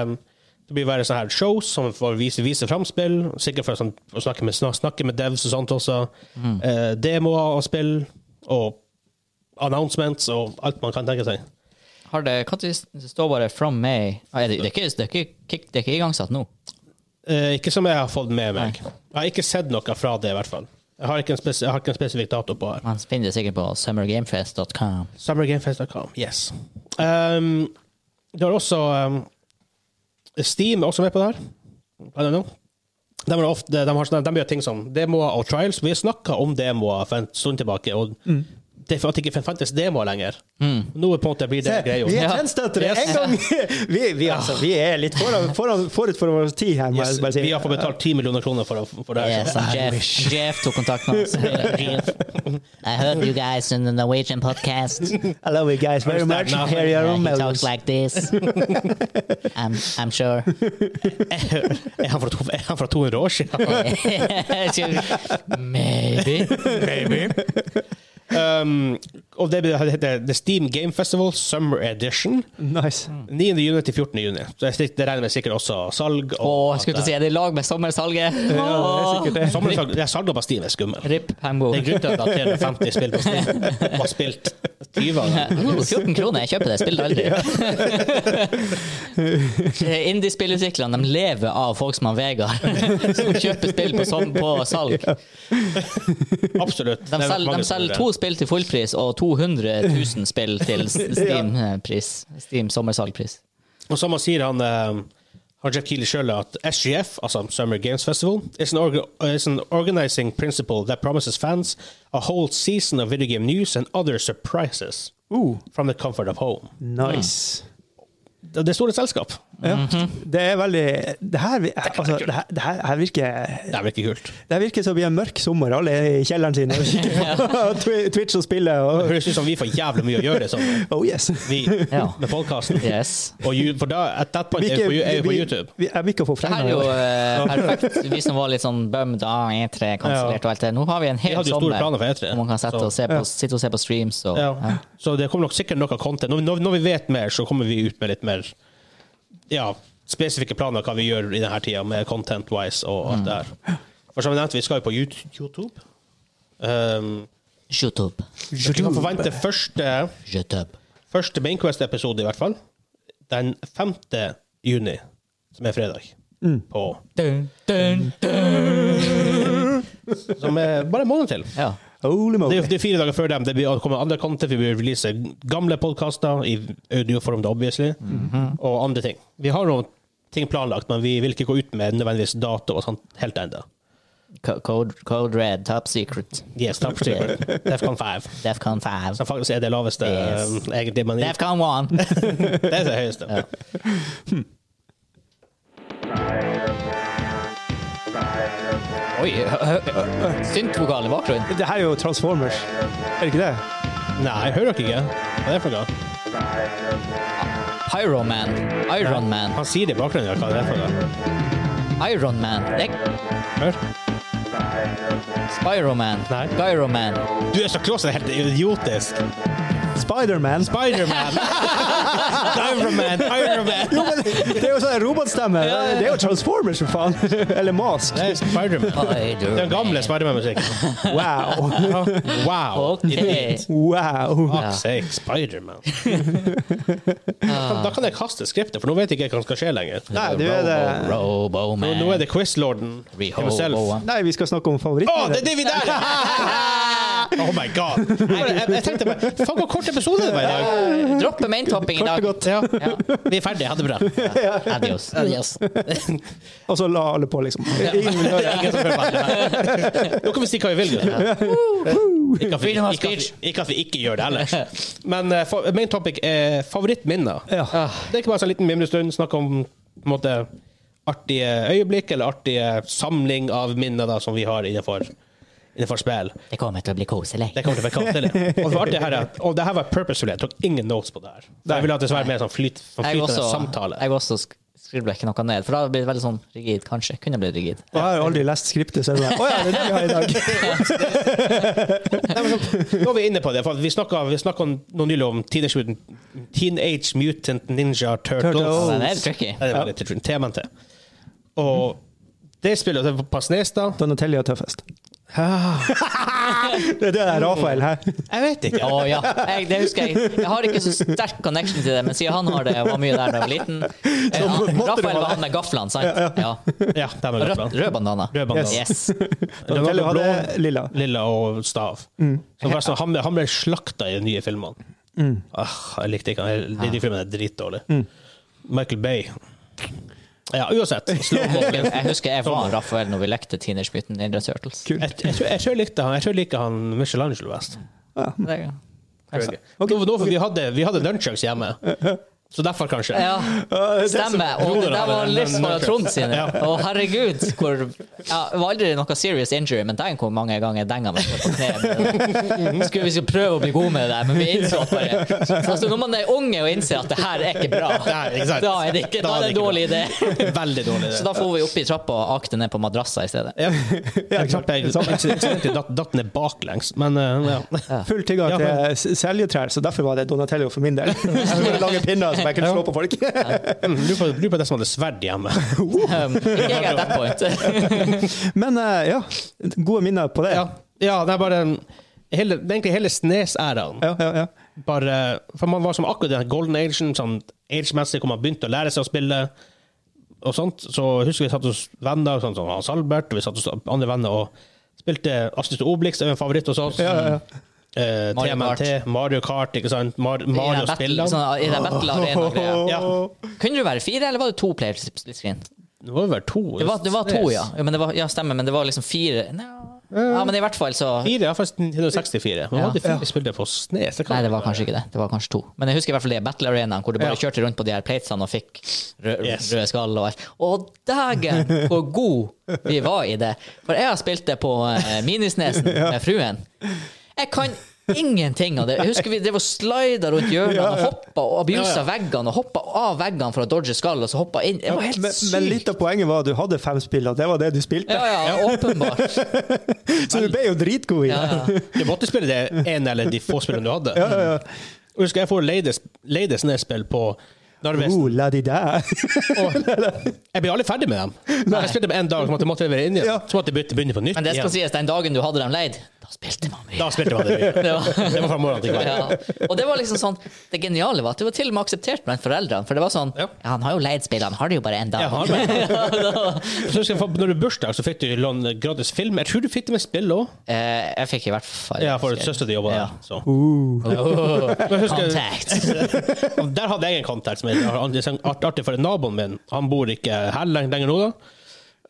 [SPEAKER 2] det blir å være sånne her shows som får vise, vise framspill. Sikkert for å sånn, å snakke, med, snak- snakke med devs og sånt også.
[SPEAKER 1] Mm.
[SPEAKER 2] Eh, demoer og spill. Og announcements og alt man kan tenke seg.
[SPEAKER 1] Har det, kan det det står bare 'From May'? Nei, det, det, er ikke, det, er ikke, kick- det er ikke igangsatt nå.
[SPEAKER 2] Eh, ikke som jeg har fått med meg. Jeg har ikke sett noe fra det, i hvert fall. Jeg har ikke en, spes jeg har ikke en spesifikk dato på her.
[SPEAKER 1] Man finner det sikkert på summergamefest.com.
[SPEAKER 2] Summergamefest.com. Yes. Um, du har også um, Steam er også med på det her. I don't know. De, har ofte, de, har, sånne- de gjør ting som demoer og trials. Vi snakka om demoer for en stund tilbake. og Det er for at det ikke fantes demoer lenger. Nå er på en måte blir det greia.
[SPEAKER 3] Mm. Vi er
[SPEAKER 1] Ja.
[SPEAKER 3] trendstøttere
[SPEAKER 2] Yes.
[SPEAKER 3] en gang! Vi, vi, altså, vi er litt foran, foran, forut for vår tid her, må
[SPEAKER 2] Yes,
[SPEAKER 3] jeg bare si.
[SPEAKER 2] vi har fått betalt 10 millioner kroner for, å- for det. her.
[SPEAKER 1] Yes, and Jeff, Jeff tok kontakt med oss. Jeff. I heard you guys in the Norwegian podcast.
[SPEAKER 3] I love you guys very
[SPEAKER 2] Understand
[SPEAKER 3] much.
[SPEAKER 2] now.
[SPEAKER 3] Here you
[SPEAKER 1] Yeah,
[SPEAKER 3] are,
[SPEAKER 1] he
[SPEAKER 3] melons.
[SPEAKER 1] talks like this. I'm, I'm sure.
[SPEAKER 2] Er han fra to- er han fra 200 år siden?
[SPEAKER 1] Maybe.
[SPEAKER 2] Um, og det blir- det heter The Steam Game Festival Summer Edition.
[SPEAKER 3] Nice.
[SPEAKER 2] 9. juni til 14. juni. Så jeg, det regner med sikkert også salg.
[SPEAKER 1] Å, jeg skulle til å si, er det i lag med sommersalget? Åh.
[SPEAKER 3] sikkert det.
[SPEAKER 2] Sommersalg det er salg på Steam er skummel.
[SPEAKER 1] Rip Hambo.
[SPEAKER 2] Det er grunnen til at 350 spill på Steam var spilt 20 av dem.
[SPEAKER 1] Uh, 14 kroner, jeg kjøper det, spiller det aldri. Eh, Indie-spillutviklerne de lever av folk som han Vegard, som kjøper spill på, som, på salg.
[SPEAKER 2] Absolutt.
[SPEAKER 1] De
[SPEAKER 2] Det er
[SPEAKER 1] selger, de
[SPEAKER 2] mange som gjør
[SPEAKER 1] selger
[SPEAKER 2] det.
[SPEAKER 1] to spill til fullpris og 200 000 spill til s- Steam-pris. Steam sommersalgpris.
[SPEAKER 2] Og som han sier han eh, har Jeff Keeley sjøl at SGF, altså Summer Games Festival, is an, orga is an organizing principle that promises fans a whole season of video game news and other surprises
[SPEAKER 3] Uh,
[SPEAKER 2] from the comfort of home.
[SPEAKER 3] nice.
[SPEAKER 2] Det det er store selskap.
[SPEAKER 3] Ja. Det er veldig Det her, altså, det her, det her, her virker
[SPEAKER 2] Det er vel ikke kult.
[SPEAKER 3] Det her virker som vi er en mørk sommer. Alle er i kjelleren sin og kikker på Twi- Twitch og spiller.
[SPEAKER 2] Det
[SPEAKER 3] Og,
[SPEAKER 2] høres ut som vi får jævlig mye å gjøre sånn,
[SPEAKER 3] oh yes.
[SPEAKER 2] vi
[SPEAKER 1] Ja.
[SPEAKER 2] med podkasten.
[SPEAKER 1] Yes.
[SPEAKER 2] Og you, for da, at that point, er vi på, er vi på YouTube.
[SPEAKER 3] Vi, jeg vil ikke få
[SPEAKER 1] Det her
[SPEAKER 3] frem
[SPEAKER 1] er jo
[SPEAKER 3] det.
[SPEAKER 1] eh, perfekt, vi som var litt sånn bummed av E3 kansellert og alt det. Nå har vi en
[SPEAKER 2] Vi
[SPEAKER 1] hel
[SPEAKER 2] hadde jo store
[SPEAKER 1] sommer
[SPEAKER 2] planer
[SPEAKER 1] hvor
[SPEAKER 2] for E3.
[SPEAKER 1] man kan sette
[SPEAKER 2] så-
[SPEAKER 1] og se på, sitte og se på streams. Og,
[SPEAKER 2] Ja. Så det kommer nok sikkert noe content. Når, når, når vi vet mer, så kommer vi ut med litt mer ja, spesifikke planer hva vi gjør i denne tida, med content-wise og alt det her. For som jeg nevnte, vi skal jo på Yout- YouTube. Um,
[SPEAKER 1] YouTube.
[SPEAKER 2] dere kan forvente første,
[SPEAKER 1] YouTube.
[SPEAKER 2] første Mainquest-episode, i hvert fall, den 5. juni, som er fredag. På,
[SPEAKER 1] Dun, dun, dun.
[SPEAKER 2] som er bare en måned til.
[SPEAKER 1] Ja.
[SPEAKER 3] Holy
[SPEAKER 2] Det
[SPEAKER 3] moly.
[SPEAKER 2] er, det er fire dager før dem. Det blir, kommer andre content. Vi vil release gamle podkaster i audioform, da, obviously, og andre ting. Vi har noen ting planlagt, men vi vil ikke gå ut med nødvendigvis dato og sånt helt ennå.
[SPEAKER 1] Co- Code, code Red, Top Secret,
[SPEAKER 2] Yes, top secret. Defcon 5.
[SPEAKER 1] Defcon 5,
[SPEAKER 2] Som faktisk er det laveste,
[SPEAKER 1] Yes.
[SPEAKER 2] eh, egentlig, men det
[SPEAKER 1] Defcon 1.
[SPEAKER 2] er det høyeste.
[SPEAKER 1] Oi, syntvokal i bakgrunnen.
[SPEAKER 3] Det her er jo Transformers, er det ikke det?
[SPEAKER 2] Nei, jeg hører dere ikke? Hva er det for noe?
[SPEAKER 1] Pyroman, Ironman,
[SPEAKER 2] Han sier det i bakgrunnen. ja, Hva er det for noe?
[SPEAKER 1] Ironman,
[SPEAKER 2] Hør.
[SPEAKER 1] Spyroman,
[SPEAKER 2] Nei.
[SPEAKER 1] Gyroman.
[SPEAKER 2] Du er så close, det er helt idiotisk.
[SPEAKER 3] Spiderman.
[SPEAKER 2] Spiderman! Ironman! Ironman!
[SPEAKER 3] Jo, men det er er jo sånn her robotstemme!
[SPEAKER 1] Ja, ja, ja.
[SPEAKER 3] Det er jo Transformers, for faen! Eller Mask.
[SPEAKER 2] Det er Spiderman. Den gamle Spiderman-musikken.
[SPEAKER 3] Wow!
[SPEAKER 2] Wow.
[SPEAKER 1] Ok.
[SPEAKER 3] Wow!
[SPEAKER 1] Ja.
[SPEAKER 2] Fuck sake, Spiderman. Da kan jeg kaste skriptet, for nå vet jeg ikke hva som skal skje lenger.
[SPEAKER 3] Nei, du er det
[SPEAKER 2] Nå,
[SPEAKER 1] Roboman.
[SPEAKER 2] nå er det quizlorden himself. Å,
[SPEAKER 1] Rehoboam.
[SPEAKER 3] Nei, vi skal snakke om favoritt.
[SPEAKER 2] det er det vi der! Oh my god. Jeg, jeg, jeg tenkte bare Faen, hvor kort episode det var i dag.
[SPEAKER 1] Eh, Droppe maintopping i
[SPEAKER 3] Kort og
[SPEAKER 1] dag.
[SPEAKER 3] godt.
[SPEAKER 1] Ja.
[SPEAKER 2] Vi er ferdige. Ha det bra.
[SPEAKER 1] Adios. Adios.
[SPEAKER 3] Og så la alle på, liksom. Ingen vil høre.
[SPEAKER 2] Ingen som hører på det. Nå kan vi si hva vi vil. gutter. Ikke at vi,
[SPEAKER 1] Freedom of
[SPEAKER 2] ikke, at
[SPEAKER 1] speech.
[SPEAKER 2] vi, ikke at vi ikke gjør det ellers. Men eh, fa- main topic er favorittminner.
[SPEAKER 3] Ja.
[SPEAKER 2] Det er ikke bare en liten mimrestund. Snakke om på en måte, artige øyeblikk eller artige samling av minner da, som vi har innenfor, innenfor spill.
[SPEAKER 1] Det kommer til å bli koselig.
[SPEAKER 2] Det kommer til å være kaldt. eller? Og det var artig her, er at- og det her var purposeful. Jeg tok ingen notes på det her. Så jeg ville at det skulle være mer sånn flyt, sånn
[SPEAKER 1] Jeg
[SPEAKER 2] flytende
[SPEAKER 1] også,
[SPEAKER 2] samtale.
[SPEAKER 1] jeg også sk- skribler ikke noe ned, for da blir det veldig sånn rigid, kanskje. Kunne blitt rigid.
[SPEAKER 3] Og jeg har aldri lest skriptet, så jeg bare Å ja, det er det vi har i dag.
[SPEAKER 2] Nei, men så, nå er vi inne på det. For vi snakka vi snakket om- nå nylig om Teenage Mutant, Teenage Mutant Ninja Turtles.
[SPEAKER 3] Turtles.
[SPEAKER 1] Den er tricky.
[SPEAKER 2] Ja, Det var litt trygt. Temaen til. Og det spillet det var på Snes, da
[SPEAKER 3] Donatelli er tøffest. det er det der Rafael her.
[SPEAKER 2] Jeg vet ikke.
[SPEAKER 1] Å ja. Jeg, det husker jeg. Jeg har ikke så sterk connection til det, men siden han har det, og var mye der da jeg var liten eh,
[SPEAKER 3] Så
[SPEAKER 1] han-
[SPEAKER 3] måtte det
[SPEAKER 1] Rafael
[SPEAKER 3] være
[SPEAKER 1] var han med gaflene, sant? Ja.
[SPEAKER 2] Ja, det er med
[SPEAKER 1] Rød,
[SPEAKER 2] Rødland.
[SPEAKER 1] rød bandana.
[SPEAKER 2] Rød bandana.
[SPEAKER 1] Yes.
[SPEAKER 3] Donatelli
[SPEAKER 2] Blå,
[SPEAKER 3] hadde lilla.
[SPEAKER 2] Lilla Mm. og stav. Så forresten, han, ble- han ble slakta i de nye filmene. Ah, jeg likte ikke han. De, de filmene er dritdårlige. Michael Bay. Ja, uansett. Slow mo.
[SPEAKER 1] Jeg jeg husker jeg var Rafael når vi lekte Teenage Mutant Ninja Turtles.
[SPEAKER 2] Jeg, jeg, tror- jeg tror jeg likte han Jeg tror jeg liker han Michelangelo best.
[SPEAKER 1] Det er-
[SPEAKER 2] Tror jeg. Nå- nå- for vi hadde, vi hadde nunchucks hjemme, så derfor kanskje.
[SPEAKER 1] Ja, stemmer. Og det sånn- der var litt fra Trond sine.
[SPEAKER 2] Ja.
[SPEAKER 1] Å, herregud, hvor ja, Det var aldri noe serious injury, men tenk hvor mange ganger jeg denga meg på kneet. Skulle vi skulle prøve å bli gode med det, men vi innså at bare altså, Når man er unge og innser at det her er ikke bra,
[SPEAKER 2] Nei, ikke sant.
[SPEAKER 1] da er det ikke da er det en
[SPEAKER 2] ikke
[SPEAKER 1] dårlig idé.
[SPEAKER 2] bra. Veldig dårlig idé.
[SPEAKER 1] Så da får vi opp i trappa og akte ned på madrasser i stedet.
[SPEAKER 2] Ja. Jeg trapp jeg
[SPEAKER 3] sant.
[SPEAKER 2] incidentally datt, datt ned baklengs, men eh, ja.
[SPEAKER 3] Full tilgang
[SPEAKER 2] Ja,
[SPEAKER 3] til s- seljetrær, så derfor var det Donatello for min del. Jeg skulle lange pinner som jeg kunne slå på folk.
[SPEAKER 2] Mm, Lurer på, lurer på det som hadde sverd hjemme.
[SPEAKER 1] Um, ikke jeg at that point.
[SPEAKER 3] Men eh, ja, gode minner på det.
[SPEAKER 2] Ja, ja det er bare en, hele, det er egentlig hele Snes-æraen.
[SPEAKER 3] Ja, ja, ja.
[SPEAKER 2] Bare, for man var som akkurat den golden agen, sånn age-messig, hvor man begynte å lære seg å spille. Og sånt, så husker vi satt hos venner, sånn som Hans Albert, og vi satt hos andre venner og spilte Astrid og Obelix, det er jo en favoritt hos oss.
[SPEAKER 3] ja, ja.
[SPEAKER 2] Eh,
[SPEAKER 1] Mario Kart.
[SPEAKER 2] TMNT, Mario Kart, ikke sant? Mar
[SPEAKER 1] I den battle-
[SPEAKER 2] Mario-spillene.
[SPEAKER 1] sånn, I den battle arena-greia.
[SPEAKER 2] Ja.
[SPEAKER 1] Kunne du være fire, eller var det to player split screen?
[SPEAKER 2] Det var vel to.
[SPEAKER 1] Det var, det var to, ja. ja, men det var, ja stemmer, men det var liksom fire Nei, Ja, men i hvert fall så
[SPEAKER 2] Fire, ja, faktisk 164. Men
[SPEAKER 1] Ja.
[SPEAKER 2] hadde fire spillere på Snes?
[SPEAKER 1] Nei, det var kanskje ikke det. Det var kanskje to. Men jeg husker i hvert fall det Battle Arenaen, hvor du bare
[SPEAKER 2] Ja.
[SPEAKER 1] kjørte rundt på de her platesene og fikk rød,
[SPEAKER 2] Yes.
[SPEAKER 1] røde skall og alt. Og dægen hvor god vi var i det! For jeg har spilt det på eh, Minisnesen med fruen. Jeg kan ingenting av det. Jeg husker vi drev og slida rundt hjørnene og hoppa og abusa
[SPEAKER 2] Ja, ja.
[SPEAKER 1] veggene og hoppa av veggene for å dodge skall, og så hoppa inn. Det var helt
[SPEAKER 3] Men,
[SPEAKER 1] sykt.
[SPEAKER 3] men litt av poenget var at du hadde fem spill, og det var det du spilte.
[SPEAKER 1] ja, ja, åpenbart.
[SPEAKER 3] Så du ble jo dritgod i
[SPEAKER 1] Ja,
[SPEAKER 3] det.
[SPEAKER 1] ja.
[SPEAKER 2] Du måtte spille det ene eller de få spillene du hadde. Og Husker jeg får leide, leide Snes-spill på Narvesen.
[SPEAKER 3] Oh, la di da.
[SPEAKER 2] Og jeg ble aldri ferdig med dem. Jeg spilte med en dag, så måtte jeg måtte levere inn igjen.
[SPEAKER 3] Ja.
[SPEAKER 2] Så måtte jeg bytte- begynne på nytt.
[SPEAKER 1] Men det skal
[SPEAKER 2] igjen.
[SPEAKER 1] sies, den dagen du hadde dem leid, da spilte man mye.
[SPEAKER 2] Da spilte man det mye.
[SPEAKER 1] Det var,
[SPEAKER 2] Det var fra morgenen til kvelden.
[SPEAKER 1] ja. Og det var liksom sånn Det geniale var at det var til og med akseptert blant foreldrene. For det var sånn
[SPEAKER 2] Ja.
[SPEAKER 1] Ja, han har jo leid spillet, han har det jo bare én dag.
[SPEAKER 2] Jeg har det. Så husker jeg, for- Når du bursdag, så fikk du låne gratis film. Jeg tror du fikk det med spill òg.
[SPEAKER 1] Eh, jeg fikk i hvert fall
[SPEAKER 2] Ja, for søstera di jobba der.
[SPEAKER 1] Ja.
[SPEAKER 2] Så.
[SPEAKER 1] Oh,
[SPEAKER 2] Men husker-
[SPEAKER 1] Contact.
[SPEAKER 2] Og Der hadde jeg en kontakt som er sånn art- artig for naboen min. Han bor ikke her leng- lenger nå, da.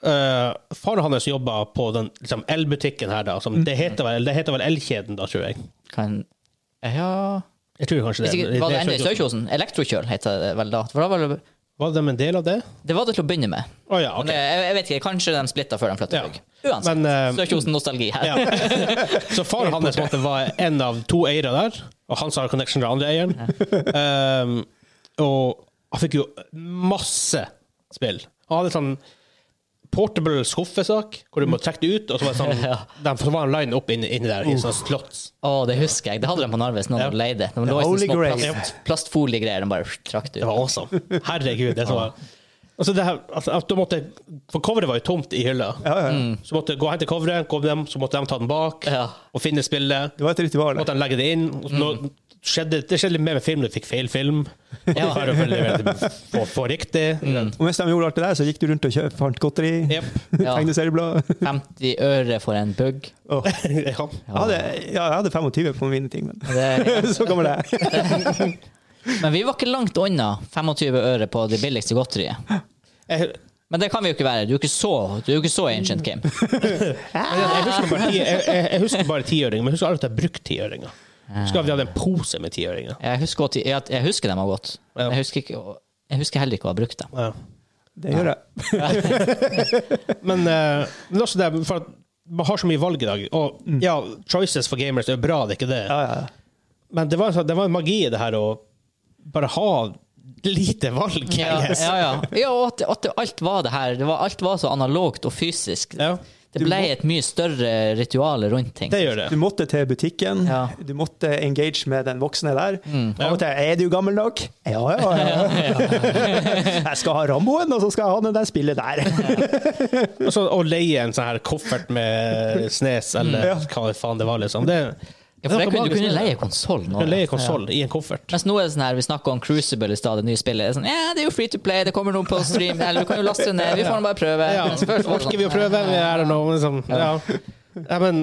[SPEAKER 2] Eh, faren hans jobba på den liksom, elbutikken her, da. Som, det, heter vel, det heter vel Elkjeden, da, tror jeg.
[SPEAKER 1] Kan Ja
[SPEAKER 2] Jeg tror kanskje
[SPEAKER 1] Hvis
[SPEAKER 2] Eh, det.
[SPEAKER 1] ikke, Var det ennå i
[SPEAKER 2] Sør-
[SPEAKER 1] Sørkjosen? Elektrokjøl heter det vel da. For da var det,
[SPEAKER 2] Var de en del av det?
[SPEAKER 1] det var det til å begynne med.
[SPEAKER 2] Å ja,
[SPEAKER 1] Men
[SPEAKER 2] OK.
[SPEAKER 1] jeg, jeg vet ikke, Kanskje de splitta før de flytta
[SPEAKER 2] Ja.
[SPEAKER 1] bygg. Uansett.
[SPEAKER 2] Men, eh,
[SPEAKER 1] Sørkjosen-nostalgi her.
[SPEAKER 2] Ja. Så faren hans måtte være en av to eiere der, og han sa connection til den andre eieren. Ehm, og han fikk jo masse spill. Han hadde sånn portable skuffesak, hvor du må trekke det ut, og så var det sånn, den- så var han line opp inni, inni der, i sånn slots.
[SPEAKER 1] Å, det husker jeg. Det hadde de på Narves når de
[SPEAKER 2] Ja.
[SPEAKER 1] leide. De
[SPEAKER 3] The
[SPEAKER 1] lå i
[SPEAKER 3] Holy
[SPEAKER 1] sånne små
[SPEAKER 3] Grail.
[SPEAKER 1] plast, plastfoliegreier. De bare trakk det
[SPEAKER 2] Det
[SPEAKER 1] ut.
[SPEAKER 2] var awesome. Herregud, det som var Altså, det her, at, at du måtte, for coveret var jo tomt i hylla.
[SPEAKER 3] Ja, ja.
[SPEAKER 2] Så måtte du gå og hente coveret, gå med dem, så måtte de ta den bak
[SPEAKER 1] Ja.
[SPEAKER 2] og finne spillet.
[SPEAKER 3] Det var et ritual.
[SPEAKER 2] Så måtte de legge det inn. Og så nå, skjedde, det skjedde litt mer med film, du fikk feil film. Ja.
[SPEAKER 1] Ja.
[SPEAKER 2] Bare for å levere det på, på riktig.
[SPEAKER 3] Og mens de gjorde alt det der, så gikk du rundt og kjøp, fant godteri,
[SPEAKER 2] Jep.
[SPEAKER 1] Ja.
[SPEAKER 3] tegneserieblad.
[SPEAKER 1] 50 øre for en bug.
[SPEAKER 3] Åh.
[SPEAKER 2] Ja.
[SPEAKER 3] Jeg, hadde, ja, jeg hadde 25 på mine ting, men
[SPEAKER 1] Det,
[SPEAKER 3] så kommer det.
[SPEAKER 1] men vi var ikke langt unna 25 øre på det billigste godteriet.
[SPEAKER 2] Jeg,
[SPEAKER 1] Men det kan vi jo ikke være. Du er jo ikke så, du er jo ikke så ancient game.
[SPEAKER 2] jeg husker bare ti- jeg- jeg- jeg husker bare tiøringer, men jeg husker aldri at jeg brukte tiøringer. Jeg Husker at vi hadde en pose med tiøringer.
[SPEAKER 1] Jeg husker, godt- jeg, jeg husker dem har gått.
[SPEAKER 2] Ja.
[SPEAKER 1] Jeg husker, ikke, jeg husker heller ikke å ha brukt dem.
[SPEAKER 2] Ja.
[SPEAKER 3] Det gjør jeg.
[SPEAKER 2] Men, eh, men også det, for at man har så mye valg i dag. Og ja, choices for gamers er bra, det er ikke det.
[SPEAKER 3] Ja, ja.
[SPEAKER 2] Men det var, en sånn- det var en magi i det her å bare ha lite valg. I
[SPEAKER 1] Ja,
[SPEAKER 2] guess.
[SPEAKER 1] ja, ja. ja og at, at det- alt var det her. Det var, alt var så analogt og fysisk.
[SPEAKER 2] Ja,
[SPEAKER 1] Det ble et mye større ritual rundt ting.
[SPEAKER 2] det gjør det.
[SPEAKER 3] Du måtte til butikken,
[SPEAKER 1] Ja.
[SPEAKER 3] du måtte engage med den voksne der. Av og til er du gammel nok? Ja, ja, ja. jeg skal ha Ramboen, og så skal jeg ha den der spillet der.
[SPEAKER 2] Og så å leie en sånn her koffert med snes, eller hva faen det var, liksom. Det,
[SPEAKER 1] Ja,
[SPEAKER 2] det
[SPEAKER 1] for
[SPEAKER 2] er
[SPEAKER 1] jeg
[SPEAKER 2] noe
[SPEAKER 1] kunne, du
[SPEAKER 2] magisk
[SPEAKER 1] kunne
[SPEAKER 2] med det.
[SPEAKER 1] leie konsoll
[SPEAKER 2] Du
[SPEAKER 1] nå.
[SPEAKER 2] kunne leie konsoll i en koffert.
[SPEAKER 1] Mens nå er det sånn her, vi snakker om Crucible i stad, det nye spillet. Det er sånn, ja, det er jo free to play, det kommer noen på stream, eller du kan jo laste det ned, vi får nå bare prøve.
[SPEAKER 2] Ja,
[SPEAKER 1] Mens før så var det
[SPEAKER 2] orker vi å
[SPEAKER 1] sånn,
[SPEAKER 2] prøve? Vi er nå, liksom. Ja. ja, men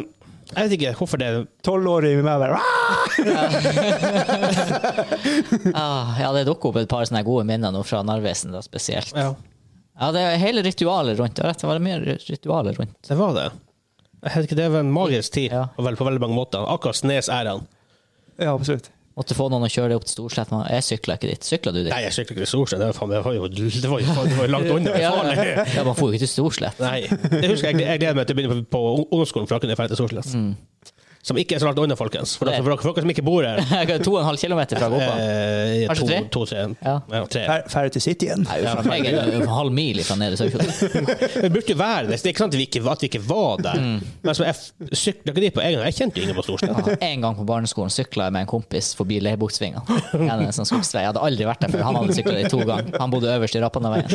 [SPEAKER 2] jeg vet ikke hvorfor det
[SPEAKER 3] Tolvåring med meg bare «Ah!»
[SPEAKER 1] Ah, ja, det dukker opp et par sånne gode minner nå fra Narvesen, da spesielt.
[SPEAKER 2] ja.
[SPEAKER 1] Ja, det er hele ritualet rundt det. Rett, det var mye ritualet rundt.
[SPEAKER 2] Det var det. Jeg vet ikke, Det var en magisk tid
[SPEAKER 1] Ja.
[SPEAKER 2] og vel, på veldig mange måter. Akkurat Snes er han.
[SPEAKER 3] Ja, absolutt.
[SPEAKER 1] Måtte få noen å kjøre det opp til Storslett. men Jeg sykla ikke dit. Sykla du dit?
[SPEAKER 2] Nei, jeg sykler ikke til Storsjøen. Det var faen- det var jo det var jo, det var jo langt unna.
[SPEAKER 1] Ja,
[SPEAKER 2] Farlig.
[SPEAKER 1] ja, ja, man får jo ikke til Storslett.
[SPEAKER 2] Nei. Jeg husker jeg, jeg gleder meg til å begynne på, på ungdomsskolen, for da kunne jeg ferdig til Storsnes.
[SPEAKER 1] Mm.
[SPEAKER 2] Som ikke er så langt unna, folkens. For, dere- for, dere- for dere som ikke bor her.
[SPEAKER 1] To og en halv kilometer fra Gåpa.
[SPEAKER 2] Eh,
[SPEAKER 1] Kanskje
[SPEAKER 2] to,
[SPEAKER 1] tre?
[SPEAKER 2] to, tre. Ja.
[SPEAKER 1] Ja.
[SPEAKER 2] tre.
[SPEAKER 3] Fer- Ferdig til Cityen.
[SPEAKER 1] Nei, uff, jeg er jo en halv mil fra nede i Sørfjord.
[SPEAKER 2] Vi burde jo være der. så Det er ikke sant at vi ikke, at vi ikke var der. Men altså, jeg f- syklet ikke dit på egen hånd. Jeg kjente jo ingen på Storsnes.
[SPEAKER 1] En gang på barneskolen sykla jeg med en kompis forbi Leirbuktsvinga. Gjennom en sånn skogsvei. Jeg hadde aldri vært der før. Han hadde sykla dit to ganger. Han bodde øverst i Rappandaveien.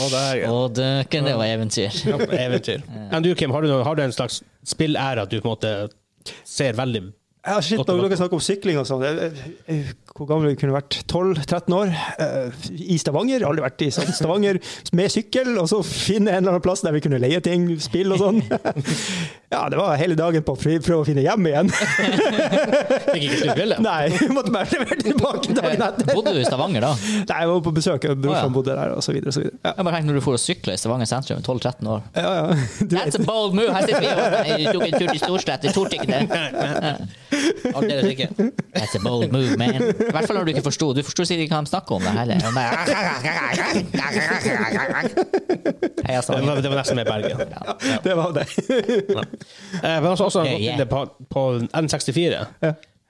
[SPEAKER 1] Og døken, det var eventyr.
[SPEAKER 2] Ja, på Eventyr. Enn du, Kim, har du, noe- har du en slags spillære at du på en måte ser veldig
[SPEAKER 3] Ja, shit,
[SPEAKER 2] Godt
[SPEAKER 3] når
[SPEAKER 2] tilbake.
[SPEAKER 3] dere snakker om sykling og sånn jeg- jeg- jeg- Hvor gammel jeg kunne vært? 12-13 år? eh, I Stavanger? Aldri vært i sånn Stavanger med sykkel, og så finne en eller annen plass der vi kunne leie ting, spill og sånn. Ja, det var hele dagen på å fri- prøve å finne hjem igjen.
[SPEAKER 2] Jeg gikk ikke til spillet.
[SPEAKER 3] Nei, måtte bare levere tilbake dagen etter.
[SPEAKER 1] Bodde du i Stavanger da?
[SPEAKER 3] Nei, jeg var på besøk,
[SPEAKER 1] Å,
[SPEAKER 3] brorsan
[SPEAKER 1] ja.
[SPEAKER 3] bodde der, og så videre, og så videre. Ja,
[SPEAKER 1] Jeg bare tenkte når du for å sykle i Stavanger sentrum, 12-13 år.
[SPEAKER 3] ja, ja. Du vet.
[SPEAKER 1] That's a bold move! Her sitter vi og Nei, tok en tur til Storslett, jeg torde ikke det. Aldeles ikke. That's a bold move, man. I hvert fall når du ikke forsto. Du forsto sikkert ikke hva de snakker om det heller. De bare- Heia
[SPEAKER 2] Det
[SPEAKER 1] Stavanger.
[SPEAKER 2] var, det var nesten med Bergen.
[SPEAKER 3] Det var det.
[SPEAKER 2] Eh, Men også, også
[SPEAKER 1] Yeah, yeah.
[SPEAKER 2] det På, på N64,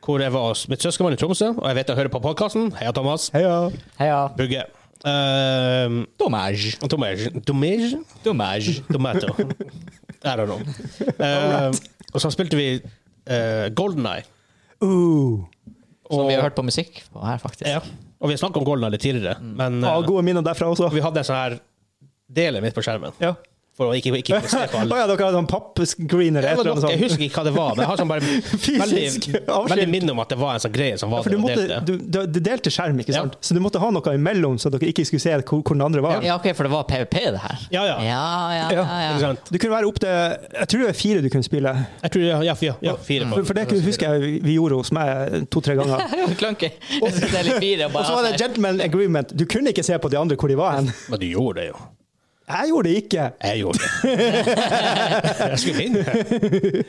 [SPEAKER 2] hvor jeg var hos mitt søskenbarn i Tromsø, og jeg vet jeg hører på podkasten. Heia, Thomas.
[SPEAKER 3] Heia.
[SPEAKER 1] Heia.
[SPEAKER 2] Bugge. Uh,
[SPEAKER 1] Dommage.
[SPEAKER 2] Domage. Domage?
[SPEAKER 1] Dommage.
[SPEAKER 2] Tomato. I don't know. Eh, og så spilte vi eh, Golden Eye.
[SPEAKER 3] Uh.
[SPEAKER 1] Som vi har hørt på musikk på her, faktisk.
[SPEAKER 2] Ja. Og vi har snakket om Golden Eye litt tidligere, men eh,
[SPEAKER 3] Mm. Ja, gode minner derfra også.
[SPEAKER 2] vi hadde en sånn her dele midt på skjermen.
[SPEAKER 3] Ja.
[SPEAKER 2] For å ikke, ikke, ikke se på
[SPEAKER 3] Å
[SPEAKER 2] alle.
[SPEAKER 3] ja, dere hadde sånn pappscreener
[SPEAKER 2] Jeg,
[SPEAKER 3] eller
[SPEAKER 2] var
[SPEAKER 3] noe
[SPEAKER 2] nok, jeg
[SPEAKER 3] sånt.
[SPEAKER 2] husker ikke hva det var, men jeg har sånn bare
[SPEAKER 3] sånn. Fysisk
[SPEAKER 2] veldig,
[SPEAKER 3] avskilt.
[SPEAKER 2] veldig minne om at det var en sånn greie som var
[SPEAKER 3] For du
[SPEAKER 2] der og
[SPEAKER 3] måtte,
[SPEAKER 2] delte.
[SPEAKER 3] du, du, du delte skjerm, ikke
[SPEAKER 2] Ja.
[SPEAKER 3] sant? så du måtte ha noe imellom, så dere ikke skulle se hvor, hvor den andre var.
[SPEAKER 1] Ja, ok, for det var PVP, det her?
[SPEAKER 2] Ja, ja.
[SPEAKER 1] Ja, ja,
[SPEAKER 3] Ja.
[SPEAKER 1] ja,
[SPEAKER 2] Ikke
[SPEAKER 1] ja.
[SPEAKER 2] sant?
[SPEAKER 3] Du kunne være opp til Jeg tror det var fire du kunne spille.
[SPEAKER 2] Jeg tror ja, ja, fire. Ja, fire
[SPEAKER 3] For, for det kunne- husker jeg vi- vi gjorde hos meg to-tre ganger.
[SPEAKER 1] Klunky. Jeg skal dele fire og
[SPEAKER 3] Og så
[SPEAKER 1] bare
[SPEAKER 3] var det gentleman agreement. Du kunne ikke se på de andre hvor de var hen.
[SPEAKER 2] Men du gjorde det jo.
[SPEAKER 3] Jeg gjorde det ikke.
[SPEAKER 2] Jeg gjorde det. jeg skulle vinne.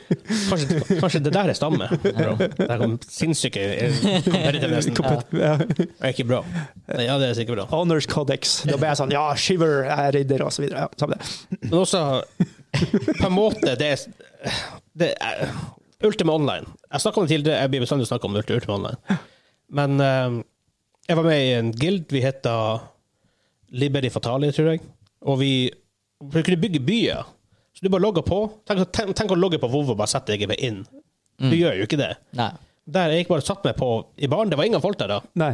[SPEAKER 2] Kanskje, kanskje det der er stamme. Bro. Det her kom sinnssyke eh, competitiveness.
[SPEAKER 3] Kompet- Ja.
[SPEAKER 2] Det er ikke bra. Ja, det er sikkert bra.
[SPEAKER 3] Honors Codex. Da ble jeg sånn Ja, Shiver, jeg er ridder, og så videre. Ja, samme det.
[SPEAKER 2] Men også, på en måte, det er, det er Ultima Online. Jeg snakket om det tidligere, jeg blir bestandig å snakke om Ultima Ultima Online. Men eh, jeg var med i en guild vi heter Liberi Fatali, tror jeg. Og vi, vi kunne bygge byer. Så du bare logger på. Tenk, tenk, tenk å logge på Vov og bare sette deg inn.
[SPEAKER 3] Mm.
[SPEAKER 2] Du gjør jo ikke det.
[SPEAKER 1] Nei.
[SPEAKER 2] Der jeg gikk bare og satt meg på i baren. Det var ingen folk der da.
[SPEAKER 3] Nei.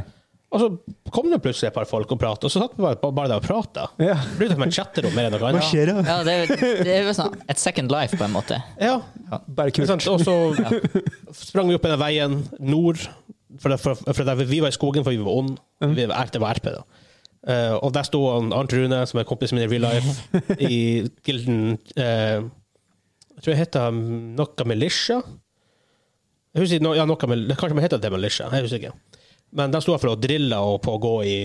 [SPEAKER 2] Og så kom det plutselig et par folk og pratet, og så satt vi bare, bare der og prata.
[SPEAKER 3] Ja.
[SPEAKER 2] Det ble som et chatterom mer enn noe
[SPEAKER 3] Hva
[SPEAKER 2] annet.
[SPEAKER 3] skjer da?
[SPEAKER 1] Ja, det er, det er jo sånn et second life, på en måte.
[SPEAKER 2] Ja,
[SPEAKER 3] Bare
[SPEAKER 2] ikke
[SPEAKER 3] kult.
[SPEAKER 2] sant? Og så sprang vi opp denne veien nord, for, det- for, for der vi var i skogen for vi var ond. Vi var, det var RP, da. Eh, og der sto han, Arnt Rune, som er kompisen min i real life, i gilden eh, Jeg tror jeg heter noe Militia. Jeg husker, ikke, no, ja, noe med, kanskje man heter det Militia, jeg husker ikke. Men de sto her for å drille og på å gå i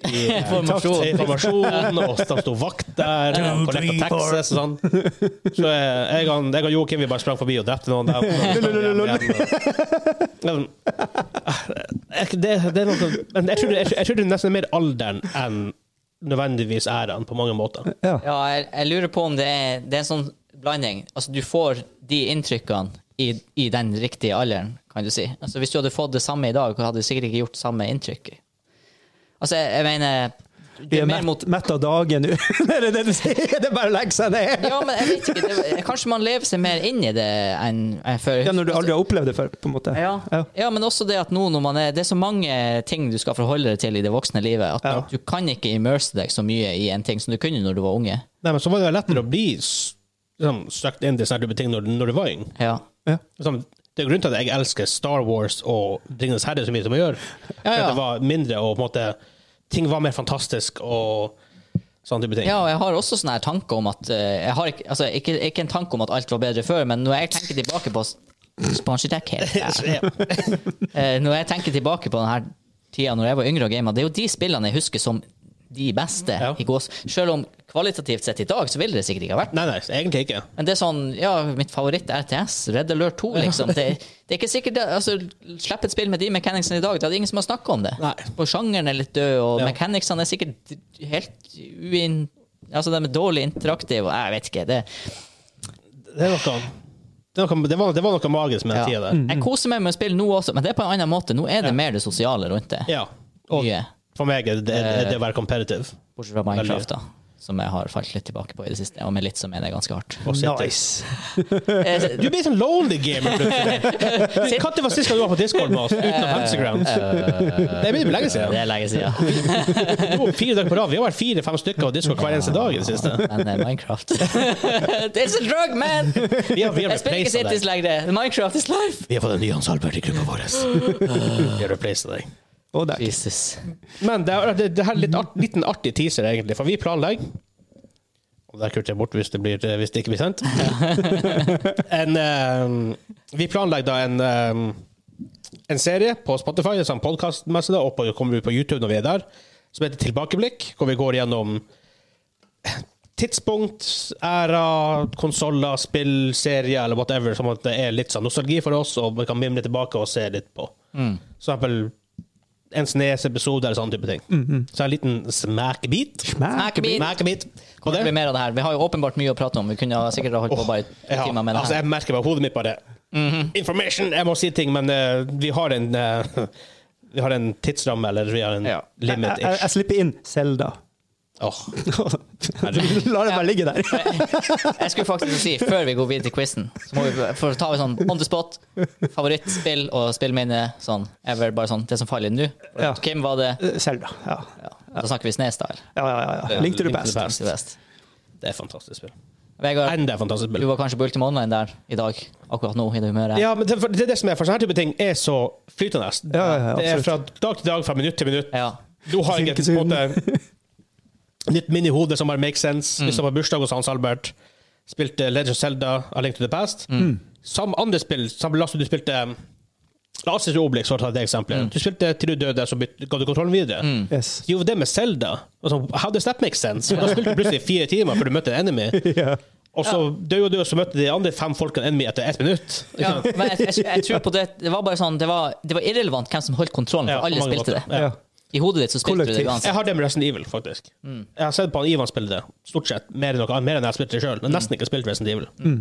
[SPEAKER 2] i eh,
[SPEAKER 1] Formasjon.
[SPEAKER 2] i formasjon, og de sto vakt der.
[SPEAKER 4] Two,
[SPEAKER 2] På
[SPEAKER 4] three,
[SPEAKER 2] Texas og sånn. Så jeg, jeg, og- jeg og Joakim vi bare sprang forbi og drepte noen der. Men, eh, Det, det er noe, men jeg tror det, jeg tror det er nesten mer alderen enn nødvendigvis æren, på mange måter.
[SPEAKER 3] Ja.
[SPEAKER 1] Ja, jeg, jeg lurer på om det er, det er en sånn blanding. Altså, du får de inntrykkene i, i den riktige alderen, kan du si. Altså, hvis du hadde fått det samme i dag, hadde du sikkert ikke gjort samme inntrykk. Altså, jeg, jeg mener
[SPEAKER 3] Vi
[SPEAKER 1] det
[SPEAKER 3] er
[SPEAKER 1] er mer
[SPEAKER 3] mett,
[SPEAKER 1] mot
[SPEAKER 3] mett av dagen nå. det er det du sier. Det er bare å legge seg ned.
[SPEAKER 1] Ja, men jeg vet ikke. Det, kanskje man lever seg mer inn i det enn enn før.
[SPEAKER 3] Ja, når du aldri har opplevd det før, på en måte.
[SPEAKER 1] Ja.
[SPEAKER 3] Ja.
[SPEAKER 1] ja, men også det at nå når man er Det er så mange ting du skal forholde deg til i det voksne livet, at
[SPEAKER 3] Ja.
[SPEAKER 1] du kan ikke immerse deg så mye i en ting som du kunne når du var unge.
[SPEAKER 2] Nei, men så var det lettere å bli s- liksom, søkt inn til sånne type ting når, når du var yng.
[SPEAKER 1] Ja.
[SPEAKER 3] Ja.
[SPEAKER 2] Liksom, det er grunnen til at jeg elsker Star Wars og Ringenes herre så mye som jeg gjør.
[SPEAKER 1] ja.
[SPEAKER 2] Det var mindre, og på en måte, ting var mer fantastisk og sånne type ting.
[SPEAKER 1] ja, og jeg har også sånne her tanker om at eh, jeg har ikke, altså, ikke, ikke en tanke om at alt var bedre før, men når jeg tenker tilbake på s- Sponsortech heter det.
[SPEAKER 2] Så, ja.
[SPEAKER 1] Eh, Når jeg tenker tilbake på denne tida når jeg var yngre og gamet, det er jo de spillene jeg husker som de beste.
[SPEAKER 2] Ja.
[SPEAKER 1] i gås. Selv om kvalitativt sett i dag, så ville det sikkert ikke ha vært
[SPEAKER 2] Nei, nei, egentlig ikke.
[SPEAKER 1] Men det er sånn, ja, mitt favoritt er RTS, Red Alert 2, liksom. Det, det er ikke sikkert det, altså, Slipp et spill med de mechanicsene i dag, det hadde ingen som har snakket om det.
[SPEAKER 2] Nei.
[SPEAKER 1] Og sjangeren er litt død, og
[SPEAKER 2] Ja.
[SPEAKER 1] mechanicsene er sikkert helt uin... Altså, de er dårlig interaktive, og jeg vet ikke. det...
[SPEAKER 2] Det, er noe, det, er noe, det, var, det var noe magisk med den
[SPEAKER 1] Ja. Mm.
[SPEAKER 2] tida der.
[SPEAKER 1] Jeg koser meg med å spille nå også, men det er på en annen måte. Nå er det mer det sosiale rundt det.
[SPEAKER 2] Ja. Og
[SPEAKER 1] Mye.
[SPEAKER 2] for meg er det,
[SPEAKER 1] Eh.
[SPEAKER 2] det, det å være competitive.
[SPEAKER 1] Bortsett fra Minecraft, da. Som jeg har falt litt tilbake på i det siste, og med litt så mener jeg ganske hardt.
[SPEAKER 2] Og sitte-
[SPEAKER 3] Nice.
[SPEAKER 1] Eh,
[SPEAKER 2] Du blir sånn lonely gamer plutselig. Når var sist gang du var på Discord med oss uten Fantasygrounds? Det er mye
[SPEAKER 1] Eh,
[SPEAKER 2] lenge
[SPEAKER 1] Det
[SPEAKER 2] siden.
[SPEAKER 1] er lenge siden.
[SPEAKER 2] Nå, fire dager på rad. Vi har vært fire-fem stykker på Discord hver eneste dag i det siste.
[SPEAKER 1] Men eh, Minecraft It's a drug, man!
[SPEAKER 2] Vi har, vi har
[SPEAKER 1] Jeg spiller ikke
[SPEAKER 2] replaced
[SPEAKER 1] Cities
[SPEAKER 2] deg.
[SPEAKER 1] lenger. Minecraft is life!
[SPEAKER 2] Vi har fått en ny Hans Albert i gruppa vår. Vi har replaced deg.
[SPEAKER 3] Og der.
[SPEAKER 1] Jesus.
[SPEAKER 2] Men det, er- det, det her er litt art, liten artig teaser, egentlig, for vi planlegger Og der kutter jeg bort hvis det, blir, hvis det ikke blir sendt. en, eh, vi planlegger da en, eh, en serie på Spotify, en sånn podkastmesse, og på, kommer ut på YouTube når vi er der, som heter Tilbakeblikk, hvor vi går gjennom tidspunkt, æra, konsoller, spill, serier eller whatever, som at det er litt sånn nostalgi for oss, og vi kan mimre tilbake og se litt på. For eksempel en Snes-episode eller sånn type ting. Så en liten smackbit.
[SPEAKER 1] Smackbit.
[SPEAKER 2] Smackbit. Og
[SPEAKER 1] Det blir
[SPEAKER 2] det,
[SPEAKER 1] mer av det her. Vi har jo åpenbart mye å prate om. Vi kunne ha sikkert ha holdt på bare to
[SPEAKER 2] ja,
[SPEAKER 1] timer med det
[SPEAKER 2] altså,
[SPEAKER 1] her. Mhm.
[SPEAKER 2] jeg merker bare hodet mitt bare Information! Jeg må si ting, men eh, vi har en eh, Vi har en tidsramme, eller vi har en
[SPEAKER 1] Ja.
[SPEAKER 3] Jeg, jeg,
[SPEAKER 2] limit-ish.
[SPEAKER 3] jeg slipper inn Selda.
[SPEAKER 2] Åh.
[SPEAKER 3] La det bare ligge der.
[SPEAKER 1] Jeg skulle faktisk si, før vi går videre til quizen, så må vi for å ta en sånn on the spot, favorittspill og spillminne, sånn ever, bare sånn det som faller inn nå.
[SPEAKER 3] Ja.
[SPEAKER 1] Hvem var det?
[SPEAKER 3] Selda. Ja.
[SPEAKER 1] Ja. Da snakker vi Snes, da. eller?
[SPEAKER 3] Ja, ja, ja, ja. Link to the best.
[SPEAKER 1] Link to the best.
[SPEAKER 2] Det er et fantastisk spill.
[SPEAKER 1] Vegard,
[SPEAKER 2] Enda et fantastisk
[SPEAKER 1] du
[SPEAKER 2] spill.
[SPEAKER 1] var kanskje på Ultima Online der i dag, akkurat nå, i det humøret.
[SPEAKER 2] Ja, men det, for det er det som er, for sånne her type ting er så flytende.
[SPEAKER 3] Ja, ja, ja,
[SPEAKER 2] det er
[SPEAKER 3] absolutt.
[SPEAKER 2] fra dag til dag, fra minutt til minutt.
[SPEAKER 1] Ja.
[SPEAKER 2] Du har jeg et på en
[SPEAKER 3] Silkesuden.
[SPEAKER 2] måte nytt mini-hode som bare makes
[SPEAKER 1] Mm.
[SPEAKER 2] sense. Hvis det var bursdag hos Hans Albert, spilte Legend of Zelda A Link to the Past.
[SPEAKER 1] Mm.
[SPEAKER 2] Som andre spill, som la oss si du spilte um, La oss si Obelix, for å ta det
[SPEAKER 1] Mm.
[SPEAKER 2] eksempelet. Du spilte til du døde, så byt- ga du kontrollen videre.
[SPEAKER 3] Yes.
[SPEAKER 2] Jo, det med Zelda altså, How does that make sense? For da spilte du plutselig i fire timer før du møtte en enemy.
[SPEAKER 3] Ja.
[SPEAKER 2] Og så døde du, og så møtte de andre fem folkene enemy etter ett minutt. Ikke
[SPEAKER 1] Ja,
[SPEAKER 2] sant?
[SPEAKER 1] men jeg, jeg, jeg tror på det Det var bare sånn Det var, det var irrelevant hvem som holdt kontrollen, for
[SPEAKER 2] Ja, på
[SPEAKER 1] alle
[SPEAKER 2] mange
[SPEAKER 1] spilte
[SPEAKER 2] måter.
[SPEAKER 1] det.
[SPEAKER 3] Ja.
[SPEAKER 1] I hodet ditt så spilte du det
[SPEAKER 3] Kollektivt.
[SPEAKER 1] uansett.
[SPEAKER 2] Jeg har det med Resident Evil, faktisk.
[SPEAKER 1] Mm.
[SPEAKER 2] Jeg har sett på han Ivan spille det, stort sett. Mer enn, noe, mer enn jeg har spilt det sjøl, men nesten ikke spilt Resident Evil.
[SPEAKER 1] Mm.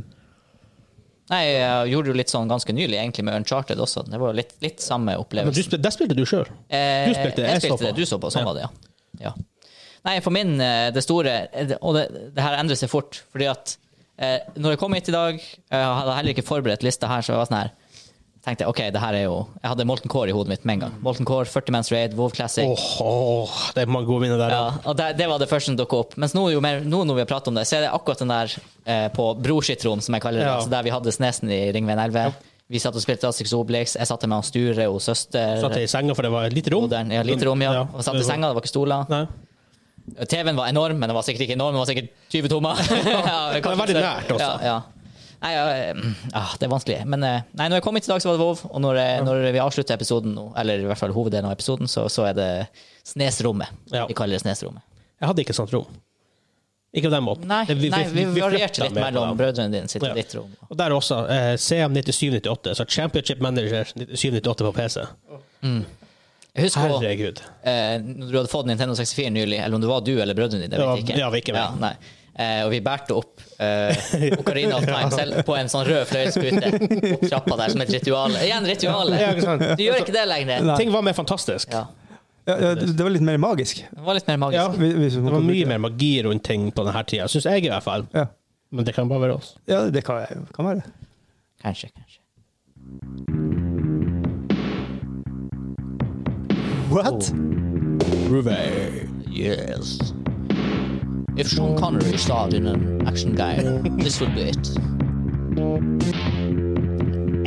[SPEAKER 1] Nei, jeg gjorde jo litt sånn ganske nylig, egentlig, med Uncharted også. Det var jo litt, litt samme
[SPEAKER 2] Men du
[SPEAKER 1] opplevelse.
[SPEAKER 2] spilte, der spilte du sjøl.
[SPEAKER 1] Eh,
[SPEAKER 2] du spilte det, jeg
[SPEAKER 1] jeg
[SPEAKER 2] så på.
[SPEAKER 1] spilte det, du så på. Sånn var det, ja. ja. Nei, for min eh, det store eh, det- Og det, det her endrer seg fort, eh, fordi at eh, når jeg kom hit i dag, jeg hadde heller ikke forberedt lista her, så jeg var sånn her tenkte jeg ok, det her er jo Jeg hadde Molten Core i hodet mitt med en gang. Molten Core, 40 Men's Raid, WoW Classic.
[SPEAKER 2] Åh, åh, det er mange gode minner der.
[SPEAKER 1] Ja, og det, det var det første som dukket opp. Mens nå, jo mer, nå når vi har pratet om det, så er det akkurat den der eh, på Brorsitrom, som jeg kaller det.
[SPEAKER 2] Ja.
[SPEAKER 1] Altså der vi hadde Snesen i Ringveien 11. Vi satt og spilte Astrix Obelix. Jeg satt med han Sture og søster.
[SPEAKER 2] Satt jeg i senga, for det var et lite rom.
[SPEAKER 1] moderen, ja, lite rom, ja. Og satt i senga, det var ikke stoler.
[SPEAKER 2] Nei.
[SPEAKER 1] TV-en var enorm, men den var sikkert ikke enorm, den var sikkert 20 tommer. ja,
[SPEAKER 2] Det var
[SPEAKER 1] kanskje
[SPEAKER 2] veldig
[SPEAKER 1] så-
[SPEAKER 2] nært også.
[SPEAKER 1] Ja, ja. Nei, ja, eh, ah, det er vanskelig. Men eh, nei, når jeg kom hit i dag, så var det WoW. Og når, eh, når vi avslutter episoden nå, eller i hvert fall hoveddelen av episoden, så, så er det Snesrommet.
[SPEAKER 2] Ja.
[SPEAKER 1] Vi kaller det Snesrommet.
[SPEAKER 2] Jeg hadde ikke sånt rom. Ikke på den måten.
[SPEAKER 1] Nei,
[SPEAKER 2] Det-
[SPEAKER 1] vi, nei, vi, varierte
[SPEAKER 2] flytta
[SPEAKER 1] litt
[SPEAKER 2] mer på
[SPEAKER 1] mellom
[SPEAKER 2] dem.
[SPEAKER 1] brødrene dine sitt
[SPEAKER 2] Ja.
[SPEAKER 1] og ditt rom.
[SPEAKER 2] Og der også. Eh, CM 97-98, så Championship Manager 97-98 på PC.
[SPEAKER 1] Jeg husker også,
[SPEAKER 2] Herregud.
[SPEAKER 1] eh, når du hadde fått Nintendo 64 nylig, eller om det var du eller brødrene dine, det vet jeg
[SPEAKER 2] Det
[SPEAKER 1] ikke.
[SPEAKER 2] var- ja, vi ikke med.
[SPEAKER 1] nei. Eh, og vi bærte opp eh, Ocarina of Time selv på en sånn rød fløyelskute opp trappa der som et ritual. Igjen ritualet!
[SPEAKER 2] Ja, ikke sant?
[SPEAKER 1] Du gjør ikke det lenger.
[SPEAKER 3] Nei.
[SPEAKER 2] Ting var mer fantastisk.
[SPEAKER 1] Ja.
[SPEAKER 3] Ja, ja, det det var litt mer magisk.
[SPEAKER 1] Det var litt mer
[SPEAKER 2] Ja,
[SPEAKER 1] magisk.
[SPEAKER 3] Hvis- hvis man
[SPEAKER 2] det var
[SPEAKER 3] kan
[SPEAKER 2] mye
[SPEAKER 3] bruke
[SPEAKER 2] mer magi rundt ting på denne tida, syns jeg i hvert fall.
[SPEAKER 3] Ja,
[SPEAKER 2] Men det kan bare være oss.
[SPEAKER 3] ja det kan, jeg- kan være.
[SPEAKER 1] Kanskje, kanskje.
[SPEAKER 3] What?
[SPEAKER 1] Yes. If Sean Connery starred in an action guy, this would be it.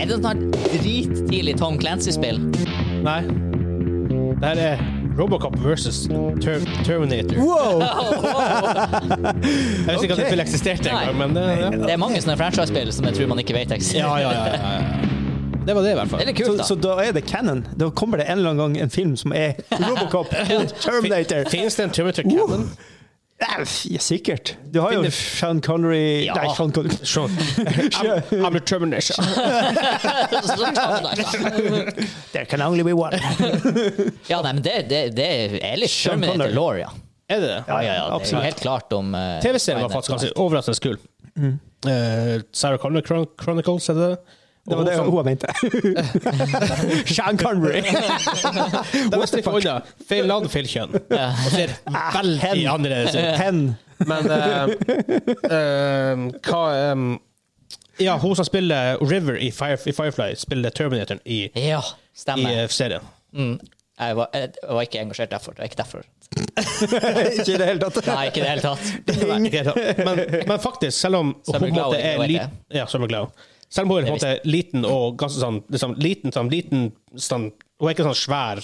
[SPEAKER 1] Er det sånn drittidlig Tom Clancy-spill?
[SPEAKER 2] Nei. Det her er Robocop versus Ter Terminator.
[SPEAKER 3] Wow!
[SPEAKER 2] Jeg visste ikke at
[SPEAKER 3] Ok.
[SPEAKER 2] det spillet eksisterte
[SPEAKER 1] Nei.
[SPEAKER 2] engang, men det, ja.
[SPEAKER 1] Det er mange sånne franchise-spill som jeg tror man ikke vet eksisterer.
[SPEAKER 2] Ja, ja, ja, ja, ja. Det var det, i
[SPEAKER 1] Det
[SPEAKER 2] hvert
[SPEAKER 1] er
[SPEAKER 2] fall.
[SPEAKER 1] litt kult, da.
[SPEAKER 3] så, så da er det canon. Da kommer det en eller annen gang en film som er Robocop og Terminator.
[SPEAKER 2] Fins det en Terminator Cannon?
[SPEAKER 3] Ja, f- ja, sikkert. Du har jo
[SPEAKER 2] Finner-
[SPEAKER 3] Sean Connery
[SPEAKER 2] Ja.
[SPEAKER 3] Nei, Sean Connery.
[SPEAKER 2] Sean. I'm, I'm a Terminator.
[SPEAKER 3] There can only be one.
[SPEAKER 1] ja, nei, men det, det, det er litt
[SPEAKER 3] Sean
[SPEAKER 1] Terminator
[SPEAKER 3] Connery.
[SPEAKER 1] Law, ja.
[SPEAKER 2] Er det det?
[SPEAKER 3] ja, ja,
[SPEAKER 1] Det er jo
[SPEAKER 3] absolutt.
[SPEAKER 1] helt klart om eh,
[SPEAKER 2] TV-serien var faktisk
[SPEAKER 1] Skynet.
[SPEAKER 2] ganske overraskende kul.
[SPEAKER 3] Mm.
[SPEAKER 2] Eh, Sarah Connor Chron- Chronicles, er det det?
[SPEAKER 3] Det var det
[SPEAKER 2] Og-
[SPEAKER 3] hun mente. Sean Connery.
[SPEAKER 2] Det er nesten ikke unna. Feil navn, feil kjønn. Og ser veldig
[SPEAKER 3] hen.
[SPEAKER 2] annerledes ut.
[SPEAKER 3] Hen.
[SPEAKER 2] Men eh, eh, hva eh, Ja, hun som spiller River i, Fire, i Firefly, spiller Terminatoren i,
[SPEAKER 1] Ja,
[SPEAKER 2] i
[SPEAKER 1] stemmer.
[SPEAKER 2] eh, serien.
[SPEAKER 1] Mm. Jeg, var, jeg var ikke engasjert derfor. Det var ikke derfor.
[SPEAKER 3] Ikke i det hele tatt.
[SPEAKER 1] Nei, ikke i det hele tatt.
[SPEAKER 2] Nei, ikke helt sant. Men, men faktisk, selv om hun på en
[SPEAKER 1] Glowing,
[SPEAKER 2] måte er
[SPEAKER 1] hun heter
[SPEAKER 2] liten Ja, Summer Glow. Selv om hun er på en
[SPEAKER 1] Det
[SPEAKER 2] måte liten og ganske sånn liksom, liten, sånn, liten sånn, Hun er ikke sånn svær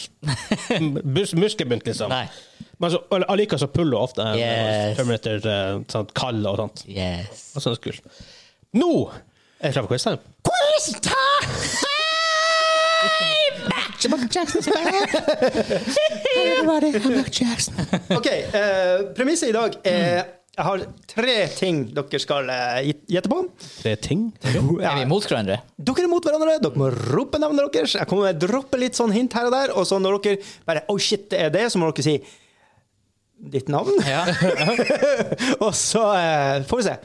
[SPEAKER 2] mus muskelbunt, liksom.
[SPEAKER 1] Nei.
[SPEAKER 2] Men så, all- allikevel så puller hun ofte eh,
[SPEAKER 1] Yes.
[SPEAKER 2] Terminator eh, sånn, kald og sånt.
[SPEAKER 1] Yes.
[SPEAKER 2] Og sånn kult. Nå er jeg klar for quiz time.
[SPEAKER 1] Quiz time!
[SPEAKER 3] OK. eh, Premisset i dag er Jeg har tre ting dere skal eh, gjette på.
[SPEAKER 2] Det er ting.
[SPEAKER 1] Er vi mot hverandre?
[SPEAKER 3] Dere er mot hverandre, dere må rope navnet deres. Jeg kommer med droppe litt sånn hint her og der, og så når dere bare Oh shit, det er det, så må dere si ditt navn.
[SPEAKER 1] Ja.
[SPEAKER 3] og så eh, får vi se.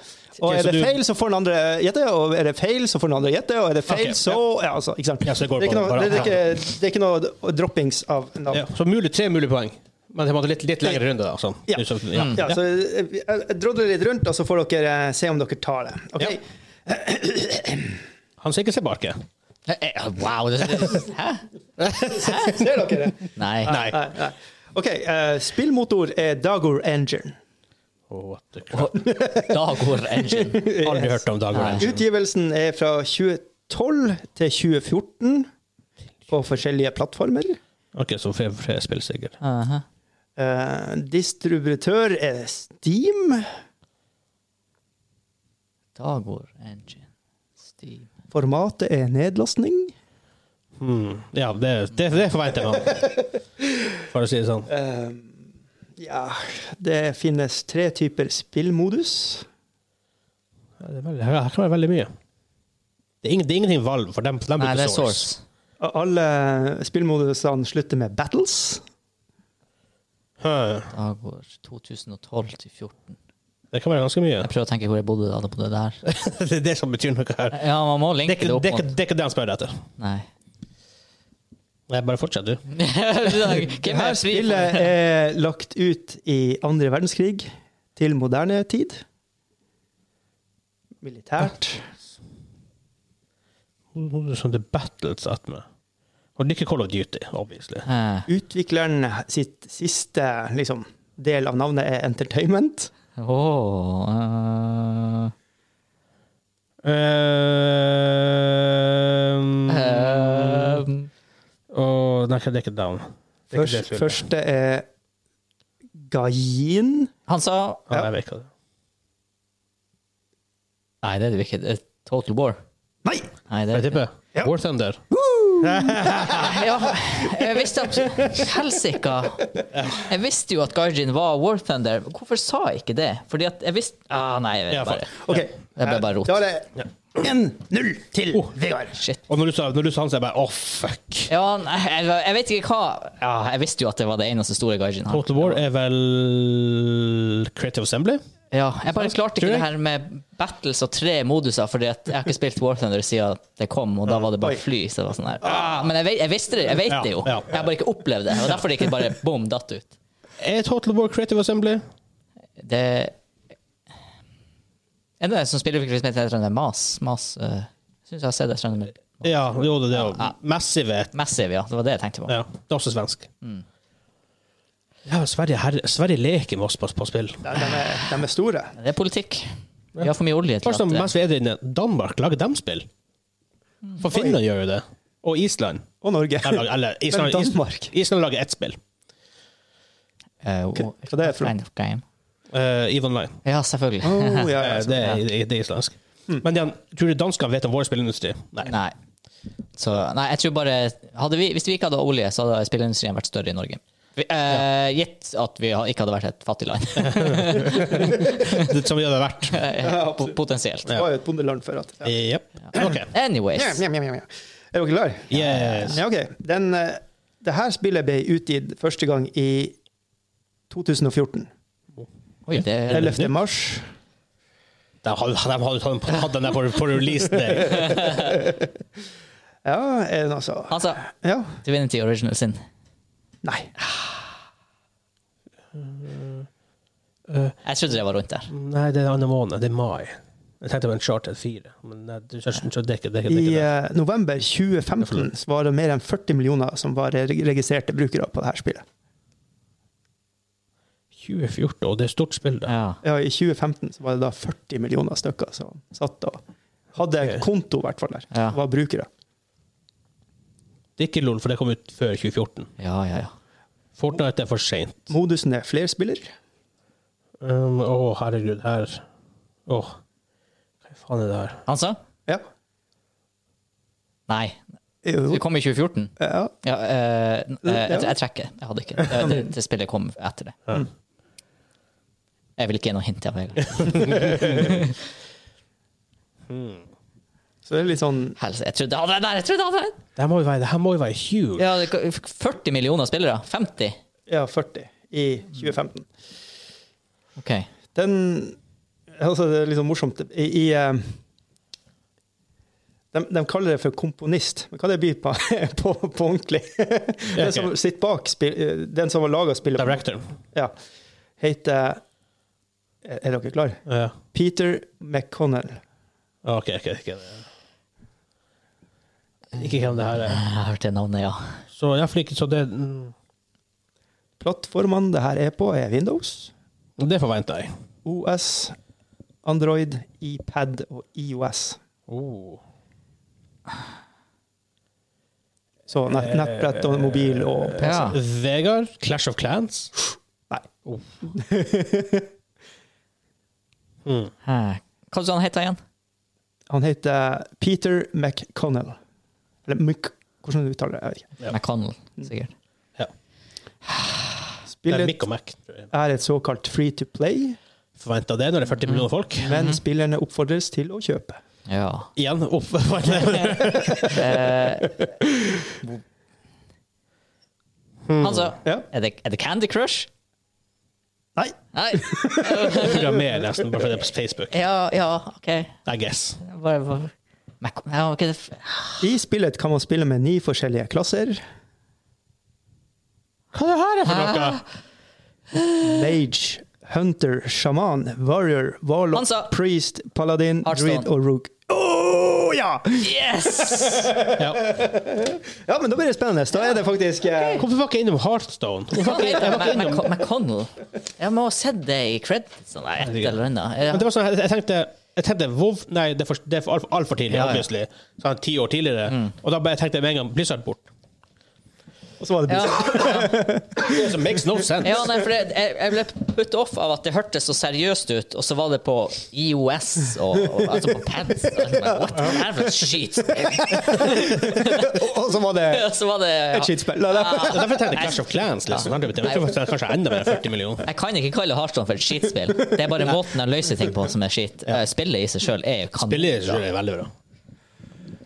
[SPEAKER 3] Og
[SPEAKER 2] Ok,
[SPEAKER 3] er
[SPEAKER 2] så
[SPEAKER 3] det
[SPEAKER 2] du-
[SPEAKER 3] feil, så får den andre gjette, og er det feil, så får den andre gjette, og er det feil,
[SPEAKER 2] Ok,
[SPEAKER 3] så Ja, altså, ikke sant.
[SPEAKER 2] Ja, så det går
[SPEAKER 3] er ikke
[SPEAKER 2] på-
[SPEAKER 3] noe, det, er
[SPEAKER 2] bare-
[SPEAKER 3] ikke, det er ikke noe droppings av
[SPEAKER 2] Ja,
[SPEAKER 3] navn.
[SPEAKER 2] så mulig tre mulige poeng. Men det måtte litt, litt lengre runde, da. Sånn.
[SPEAKER 3] Ja.
[SPEAKER 2] Du som- ja.
[SPEAKER 3] Ja, så jeg, jeg drodler litt rundt, og så får dere eh, se om dere tar det. Ok,
[SPEAKER 2] Ja. Han ser ikke tilbake.
[SPEAKER 1] Eh, eh, Wow. Det, det- hæ?
[SPEAKER 3] Ser dere det?
[SPEAKER 1] Nei.
[SPEAKER 2] Nei.
[SPEAKER 3] Nei, nei. OK, eh, spillmotor er Dagor Engine.
[SPEAKER 2] Oh, what the crap.
[SPEAKER 1] Da går engine.
[SPEAKER 2] Aldri hørt om Dagor
[SPEAKER 1] Nei.
[SPEAKER 2] Engine.
[SPEAKER 3] Utgivelsen er fra 2012 til 2014 på forskjellige plattformer.
[SPEAKER 2] Ok, så får jeg- får jeg spille sikkert.
[SPEAKER 1] Aha.
[SPEAKER 3] Eh, distributør er Steam.
[SPEAKER 1] Da går engine. Steam.
[SPEAKER 3] Formatet er nedlastning.
[SPEAKER 2] Hmm. Ja, det, det, det forventer jeg meg. For å si det sånn.
[SPEAKER 3] Eh, ja Det finnes tre typer spillmodus.
[SPEAKER 2] Ja, det er veldig, her kan være veldig mye. Det er, ingen, det er ingenting valg, for dem, dem
[SPEAKER 1] Nei,
[SPEAKER 2] bruker
[SPEAKER 1] det er
[SPEAKER 2] source.
[SPEAKER 1] source.
[SPEAKER 3] Og alle spillmodusene slutter med battles.
[SPEAKER 2] Hæ,
[SPEAKER 1] Da går 2012 til 14.
[SPEAKER 2] Det kan være ganske mye.
[SPEAKER 1] Jeg prøver å tenke hvor jeg bodde da. da bodde jeg der.
[SPEAKER 2] det er det som betyr noe her.
[SPEAKER 1] Ja, man må
[SPEAKER 2] Det er
[SPEAKER 1] linke det
[SPEAKER 2] ikke
[SPEAKER 1] opp
[SPEAKER 2] det, er
[SPEAKER 1] mot
[SPEAKER 2] ikke- det, er ikke det han spør etter.
[SPEAKER 1] Nei.
[SPEAKER 2] Nei, bare fortsett, du.
[SPEAKER 1] Hvem
[SPEAKER 3] Dette
[SPEAKER 1] er spillet?
[SPEAKER 3] spillet er lagt ut i andre verdenskrig til moderne tid. Militært.
[SPEAKER 2] Who is on the battleset med? Og det er ikke Call of Duty, obviously.
[SPEAKER 1] Eh,
[SPEAKER 3] Utvikleren sitt siste liksom, del av navnet er Entertainment.
[SPEAKER 1] åh, eh,
[SPEAKER 2] Um,
[SPEAKER 1] ehm,
[SPEAKER 2] og nei, det er ikke Down. Det er ikke det
[SPEAKER 3] Først,
[SPEAKER 2] spillet.
[SPEAKER 3] første er Gain.
[SPEAKER 1] han sa
[SPEAKER 2] Ja,
[SPEAKER 3] ja.
[SPEAKER 2] jeg vet ikke det.
[SPEAKER 1] Nei, det er det ikke. Det er Total War.
[SPEAKER 3] Nei!
[SPEAKER 1] Nei, det
[SPEAKER 2] Jeg
[SPEAKER 1] er det ikke.
[SPEAKER 2] tipper War Thunder.
[SPEAKER 1] Ja, jeg visste at Helsika! Jeg visste jo at Guardian var War Thunder. Hvorfor sa jeg ikke det? Fordi at jeg visste ah, Nei, jeg
[SPEAKER 2] Ja,
[SPEAKER 1] vet bare.
[SPEAKER 2] faen.
[SPEAKER 3] OK.
[SPEAKER 1] Det ble bare rot.
[SPEAKER 3] Da er det 1-0 til
[SPEAKER 2] Oh.
[SPEAKER 3] Vegard.
[SPEAKER 1] Shit.
[SPEAKER 2] Og når du sa, når du sa han, så jeg bare åh, fuck.
[SPEAKER 1] Ja, nei, jeg, jeg vet ikke hva ja, Jeg visste jo at det var det eneste store Guardian han
[SPEAKER 2] Total War er vel Creative Assembly?
[SPEAKER 1] Ja, jeg bare klarte ikke
[SPEAKER 2] Tror
[SPEAKER 1] det
[SPEAKER 2] jeg.
[SPEAKER 1] her med battles og tre moduser, fordi at jeg har ikke spilt War Thunder siden det kom, og da var det bare
[SPEAKER 3] Oi.
[SPEAKER 1] fly. Så det var sånn her. Ah, men jeg, vet- jeg visste det, jeg vet det jo.
[SPEAKER 2] Ja, ja.
[SPEAKER 1] Jeg har bare ikke opplevd det, og derfor det ikke bare bom datt ut.
[SPEAKER 2] Er Total War Creative Assembly?
[SPEAKER 1] Det er det en som spiller som heter det Mas? Mas uh, Syns jeg har sett det. Skjønner du?
[SPEAKER 2] Ja, jo, det er jo Massive.
[SPEAKER 1] Massive, ja. Det var det jeg tenkte på.
[SPEAKER 2] Ja, det er også svensk. Ja, men Sverige, herre, Sverige leker med oss på, på spill.
[SPEAKER 3] De, de, er, de er store.
[SPEAKER 1] Det er politikk. Vi har for mye olje til
[SPEAKER 2] Først
[SPEAKER 1] at
[SPEAKER 2] om
[SPEAKER 1] det-
[SPEAKER 2] mens vi er der inne, Danmark lager dem spill. For Finland gjør jo det. Og Island.
[SPEAKER 3] Og Norge.
[SPEAKER 2] Eller, eller Island,
[SPEAKER 3] Men Danmark?
[SPEAKER 2] Island lager ett spill.
[SPEAKER 1] Eh,
[SPEAKER 3] hva det er for noe?
[SPEAKER 1] kind of game.
[SPEAKER 2] Eh, Eve Online.
[SPEAKER 1] Ja, selvfølgelig.
[SPEAKER 3] Oh, ja, ja,
[SPEAKER 2] Eh,
[SPEAKER 3] ja.
[SPEAKER 2] det, er, det er islandsk. Men igjen, tror du danskene vet om vår spillindustri? Mm. Nei.
[SPEAKER 1] Nei. Så, nei, jeg tror bare hadde vi, Hvis vi ikke hadde olje, så hadde spilleindustrien vært større i Norge. Vi, eh, Gitt at vi ha- ikke hadde vært et fattig land.
[SPEAKER 2] Det, som vi hadde vært.
[SPEAKER 1] Eh, po- Potensielt.
[SPEAKER 3] Det var jo et bondeland før. at... Ja.
[SPEAKER 2] Jepp. Ok.
[SPEAKER 1] Anyways.
[SPEAKER 3] Mjau, mjau, mjau, mjau. Er dere klare?
[SPEAKER 2] Yes.
[SPEAKER 3] Ja, ok. Den, eh, det her spillet ble utgitt første gang i 2014.
[SPEAKER 1] Oi, det,
[SPEAKER 3] 11. mars.
[SPEAKER 2] De hadde, de hadde, de hadde den der på, på release day.
[SPEAKER 3] Ja, er den altså
[SPEAKER 1] altså,
[SPEAKER 3] Ja.
[SPEAKER 1] Divinity Original sin.
[SPEAKER 3] Nei.
[SPEAKER 1] Jeg trodde det var rundt der.
[SPEAKER 2] Nei, det er en annen måned. Det er mai. Jeg tenkte på en Charter 4. Men nei, du- så- så det er ikke det. Er ikke, det, er
[SPEAKER 3] I
[SPEAKER 2] ikke det.
[SPEAKER 3] eh, november 2015 så var det mer enn 40 millioner som var reg- registrerte brukere på det her spillet.
[SPEAKER 2] 2014, og det er et stort spill, da.
[SPEAKER 1] Ja.
[SPEAKER 3] Ja, I 2015 så var det da 40 millioner stykker som satt og hadde
[SPEAKER 2] Ok.
[SPEAKER 3] konto, i hvert fall, der.
[SPEAKER 1] Ja.
[SPEAKER 3] Var brukere.
[SPEAKER 2] Det er ikke LOL, for det kom ut før 2014.
[SPEAKER 1] ja, ja, ja.
[SPEAKER 2] Fortnite er for seint.
[SPEAKER 3] Modusen er flerspiller.
[SPEAKER 2] Um, Å, herregud, her Åh, hva faen er det her?
[SPEAKER 1] Han sa?
[SPEAKER 3] Ja.
[SPEAKER 1] Nei.
[SPEAKER 3] Jo.
[SPEAKER 1] Det kom i 2014.
[SPEAKER 3] Ja.
[SPEAKER 1] Ja, eh, eh, jeg,
[SPEAKER 3] Ja.
[SPEAKER 1] jeg trekker. Jeg hadde ikke. Det, det, det spillet kom etter det.
[SPEAKER 2] Ja.
[SPEAKER 1] Jeg vil ikke gi noe hint av Vegard.
[SPEAKER 3] Så det er litt sånn
[SPEAKER 1] Helse, Jeg trodde jeg hadde det der! Jeg trodde jeg hadde det!
[SPEAKER 2] Det her må jo være, det her må jo være huge.
[SPEAKER 1] Ja, det- 40 millioner spillere. 50.
[SPEAKER 3] Ja, 40 i 2015.
[SPEAKER 1] Ok.
[SPEAKER 3] Den Altså, det er litt sånn morsomt. I, i eh, de, de kaller det for komponist, men hva det blir på, på, på ordentlig? Den som sitter bak spill, eh, den som har laga spillet,
[SPEAKER 2] Director.
[SPEAKER 3] ja, heter Er er dere klare?
[SPEAKER 2] Ja. Ah,
[SPEAKER 3] Peter McConnell.
[SPEAKER 2] Ok, ok, ok. Ikke hvem det her er.
[SPEAKER 1] Jeg har hørt det navnet, ja.
[SPEAKER 2] Så jeg får ikke så det mm,
[SPEAKER 3] Plattformene det her er på, er Windows,
[SPEAKER 2] Det forventer jeg.
[SPEAKER 3] OS, Android, iPad og E IOS.
[SPEAKER 2] Oh.
[SPEAKER 3] Så nett, nettbrett og mobil og PC.
[SPEAKER 1] Ja.
[SPEAKER 2] Vegard, Clash of Clans.
[SPEAKER 3] Nei.
[SPEAKER 1] Hæ. Hva sa han het igjen?
[SPEAKER 3] Han heter Peter McConnell. Eller Mc... Hvordan du uttaler det? Jeg vet ikke.
[SPEAKER 2] Ja.
[SPEAKER 1] McConnell, sikkert.
[SPEAKER 2] Ja. Det er
[SPEAKER 3] Spillet
[SPEAKER 2] Mick og Mac. tror jeg.
[SPEAKER 3] er et såkalt free to play,
[SPEAKER 2] Forventer det når det er 40 millioner folk.
[SPEAKER 3] men spillerne oppfordres til å kjøpe.
[SPEAKER 1] Ja.
[SPEAKER 2] Igjen. Opp, forventer det.
[SPEAKER 1] Eh, han sa
[SPEAKER 3] Ja.
[SPEAKER 1] er det, er det Candy Crush?
[SPEAKER 3] Nei.
[SPEAKER 1] Nei.
[SPEAKER 2] Programmer nesten bare fordi det er på Facebook.
[SPEAKER 1] Ja, ja, OK.
[SPEAKER 2] I guess.
[SPEAKER 1] Bare, bare. Mac- Ja, ok, det f-
[SPEAKER 3] I spillet kan man spille med ni forskjellige klasser.
[SPEAKER 1] Ah.
[SPEAKER 2] Hva er det her for noe?
[SPEAKER 3] Mage, Hunter, Shaman, Warrior, Warlock,
[SPEAKER 1] Han sa-
[SPEAKER 3] Priest, Paladin,
[SPEAKER 1] Hearthstone.
[SPEAKER 3] Druid og Rook. Åh, ja!
[SPEAKER 1] Yes!
[SPEAKER 3] ja, men da blir det spennende. Da er det faktisk eh,
[SPEAKER 2] Hvorfor var ikke jeg innom Heartstone? Hvorfor var ikke jeg- jeg var ikke innom
[SPEAKER 1] McConnell. McConnell. Jeg må ha sett det i credits eller et eller annet.
[SPEAKER 2] Men det
[SPEAKER 1] Jeg-
[SPEAKER 2] var sånn, jeg- jeg tenkte jeg tenkte, WoW, nei, det er for, det er for altfor alt for tidlig,
[SPEAKER 1] Ja, Mm. ja.
[SPEAKER 2] obviously. Sånn ti år tidligere. Og da bare tenkte jeg med en gang Blizzard bort.
[SPEAKER 3] Og så var det
[SPEAKER 1] Ja,
[SPEAKER 3] Blizzard.
[SPEAKER 2] It makes no sense.
[SPEAKER 1] ja nei, for jeg, jeg jeg ble put off av at det hørtes så seriøst ut, og så var det på IOS og, og altså på Pants. Og jeg bare, What the hell shit?
[SPEAKER 3] Og- Og så var det
[SPEAKER 1] Så var det
[SPEAKER 3] et skittspill. Nei,
[SPEAKER 2] Det
[SPEAKER 3] nei.
[SPEAKER 2] er Derfor jeg tenkte Clash of Clans. Liksom. Kanskje- Jeg tror faktisk det er kanskje enda mer enn 40 millioner.
[SPEAKER 1] Jeg kan ikke kalle Hearthstone for et skitspill. Det er bare måten de løser ting på som er skitt. Eh, Spillet i seg sjøl er jo kanon.
[SPEAKER 2] Billig tror jeg er veldig bra.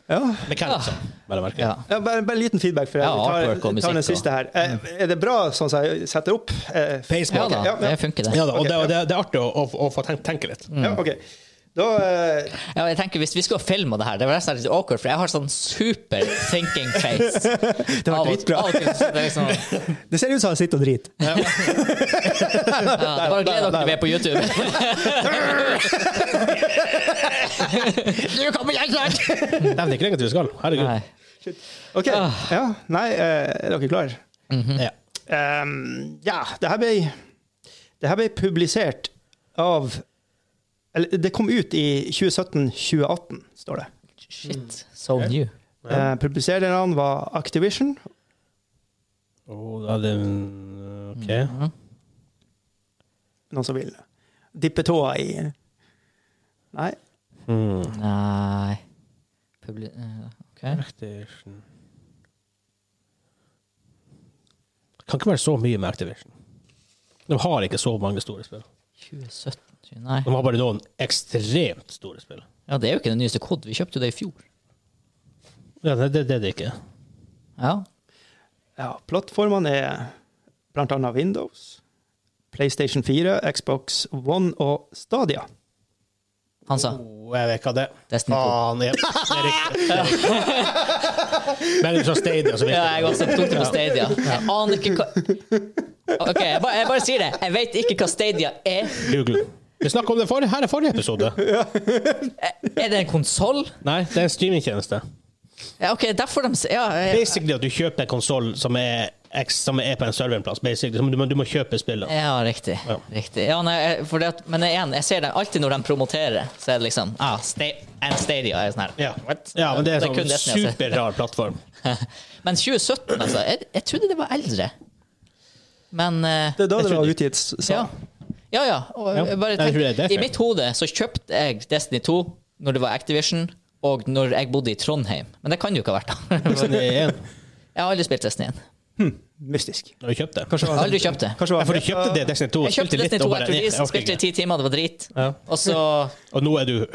[SPEAKER 3] Ja.
[SPEAKER 2] Mechanics, liksom? vel å merke.
[SPEAKER 1] Ja.
[SPEAKER 3] Ja, bare, bare en liten feedback før jeg
[SPEAKER 1] Ja, artwork og
[SPEAKER 3] tar,
[SPEAKER 1] musikk
[SPEAKER 3] tar
[SPEAKER 1] og- Mm.
[SPEAKER 3] den siste her. Eh, Er det bra sånn som jeg setter opp? Eh,
[SPEAKER 1] Ja
[SPEAKER 2] Facebook.
[SPEAKER 1] da,
[SPEAKER 3] Ja, ja.
[SPEAKER 1] det funker, det.
[SPEAKER 2] Ja da, og det, og det, det er artig å, å, å få tenke, tenke litt.
[SPEAKER 1] Mm.
[SPEAKER 3] Ja, ok. Da eh,
[SPEAKER 1] Ja, jeg tenker Hvis vi skulle filme det her, det var nesten litt awkward, for jeg har sånn super thinking face.
[SPEAKER 3] Det var
[SPEAKER 1] Av og-
[SPEAKER 3] dritbra.
[SPEAKER 1] av og til så det er liksom- Ja,
[SPEAKER 3] Det ser ut som han sitter og driter.
[SPEAKER 1] Bare gled dere, vi er på YouTube. Du kommer ikke klart!
[SPEAKER 2] Nei, men det er ikke lenger til vi skal. Herregud.
[SPEAKER 1] Nei.
[SPEAKER 3] Ok,
[SPEAKER 1] Ah.
[SPEAKER 3] ja, Nei, eh, er dere klare?
[SPEAKER 2] Ja.
[SPEAKER 3] Ehm, ja, det her ble Det her ble publisert av Eller det kom ut i 2017-2018, står det.
[SPEAKER 1] Shit, so new.
[SPEAKER 3] Eh, Publisererne var Activision.
[SPEAKER 2] Og Oh, da er det OK.
[SPEAKER 3] Noen som vil dippe tåa i Nei.
[SPEAKER 2] Mm.
[SPEAKER 1] Nei Publi... eh, ok.
[SPEAKER 2] Activision Det kan ikke være så mye med Activision. De har ikke så mange store spill.
[SPEAKER 1] 2017 Nei.
[SPEAKER 2] De har bare noen ekstremt store spill.
[SPEAKER 1] Ja, det er jo ikke den nyeste kod. Vi kjøpte jo det i fjor.
[SPEAKER 2] Ja, det, det, det er det ikke.
[SPEAKER 1] Ja.
[SPEAKER 3] Ja, plattformene er blant annet Windows, PlayStation 4, Xbox One og Stadia.
[SPEAKER 1] Han sa
[SPEAKER 2] Oh, jeg vet ikke hva det er.
[SPEAKER 1] Destiny 2.
[SPEAKER 2] Faen, ja. Det er riktig. Det er riktig. Men det er fra Stadia, så vet
[SPEAKER 1] Ja,
[SPEAKER 2] jeg.
[SPEAKER 1] jeg også tok det på Stadia. Jeg aner ikke hva OK, jeg bare, jeg bare sier det. Jeg vet ikke hva Stadia er.
[SPEAKER 2] Google. Vi snakket om det forrige, her er forrige episode.
[SPEAKER 1] Er det en konsoll?
[SPEAKER 2] Nei, det er en streamingtjeneste.
[SPEAKER 1] Ja, OK, derfor de s- Ja, ja,
[SPEAKER 2] Basically at du kjøper en konsoll som, er ex- som er på en serverplass. Basically, som du, må- du må kjøpe spillet.
[SPEAKER 1] ja riktig.
[SPEAKER 2] Ja.
[SPEAKER 1] riktig. Ja, nei, jeg- for det, at- men igjen, jeg ser det alltid når de promoterer, så er det liksom ah, sta and Stadia er sånn her.
[SPEAKER 2] Ja. ja, men det er
[SPEAKER 1] Det er kun
[SPEAKER 2] en
[SPEAKER 1] Destiny,
[SPEAKER 2] sånn
[SPEAKER 1] altså.
[SPEAKER 2] superrar plattform.
[SPEAKER 1] Men 2017, altså. Jeg, jeg trodde det var eldre. Men eh,
[SPEAKER 3] Det er da
[SPEAKER 2] Jeg
[SPEAKER 3] det var
[SPEAKER 2] trodde-
[SPEAKER 3] utgitt, sa
[SPEAKER 1] Ja, ja. ja. Og
[SPEAKER 2] Ja.
[SPEAKER 1] jeg
[SPEAKER 2] Jeg
[SPEAKER 1] bare
[SPEAKER 2] tror det er
[SPEAKER 1] tenkte,
[SPEAKER 2] derfor.
[SPEAKER 1] I mitt hode så kjøpte jeg Destiny 2 når det var Activision, og når jeg bodde i Trondheim. Men det kan jo ikke ha vært da.
[SPEAKER 2] Destiny 1.
[SPEAKER 1] Jeg har aldri spilt Destiny 1.
[SPEAKER 3] Mystisk.
[SPEAKER 2] Når du kjøpte.
[SPEAKER 1] Jeg har aldri kjøpt det.
[SPEAKER 3] Kanskje det
[SPEAKER 2] Ja,
[SPEAKER 3] var
[SPEAKER 2] for du kjøpte det Destiny 2 og
[SPEAKER 1] Jeg kjøpte
[SPEAKER 2] spilte litt
[SPEAKER 1] Destiny 2
[SPEAKER 2] og bare
[SPEAKER 1] etter
[SPEAKER 2] Nei, jeg
[SPEAKER 1] release,
[SPEAKER 2] orker
[SPEAKER 1] spilte i
[SPEAKER 2] ikke.
[SPEAKER 1] ti timer, det var drit.
[SPEAKER 2] Ja.
[SPEAKER 1] Og så
[SPEAKER 2] Og nå er du nå er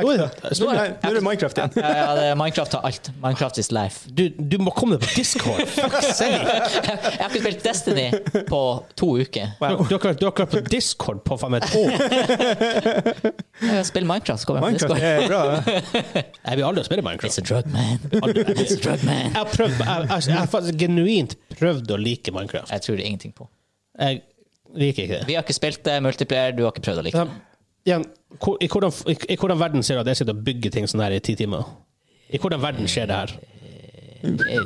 [SPEAKER 2] det-
[SPEAKER 3] Nå er nå er det Minecraft igjen.
[SPEAKER 1] ja, ja, det, Minecraft har alt. Minecraft is life.
[SPEAKER 2] du, du må komme deg på Discord! Fuck's sake!
[SPEAKER 1] Jeg har ikke spilt Destiny på to uker.
[SPEAKER 2] Du, du, har ikke vært- du har ikke vært på Discord på faen meg et år!
[SPEAKER 1] Jeg spiller Minecraft, så kommer jeg på
[SPEAKER 3] Minecraft
[SPEAKER 1] Discord.
[SPEAKER 3] er bra.
[SPEAKER 2] Jeg vil aldri spille Minecraft.
[SPEAKER 1] It's a drug man. It's a drug man.
[SPEAKER 2] Jeg har prøvd, jeg, jeg, jeg har faktisk genuint prøvd å like Minecraft.
[SPEAKER 1] Jeg tror det er ingenting på.
[SPEAKER 2] Jeg liker ikke det.
[SPEAKER 1] Vi har ikke spilt det, multiplayer, du har ikke prøvd å like det.
[SPEAKER 2] Ja, igjen, hvor- I hvordan, i, i hvordan verden ser du at jeg sitter og bygger ting sånn her i ti timer? I hvordan verden skjer det her?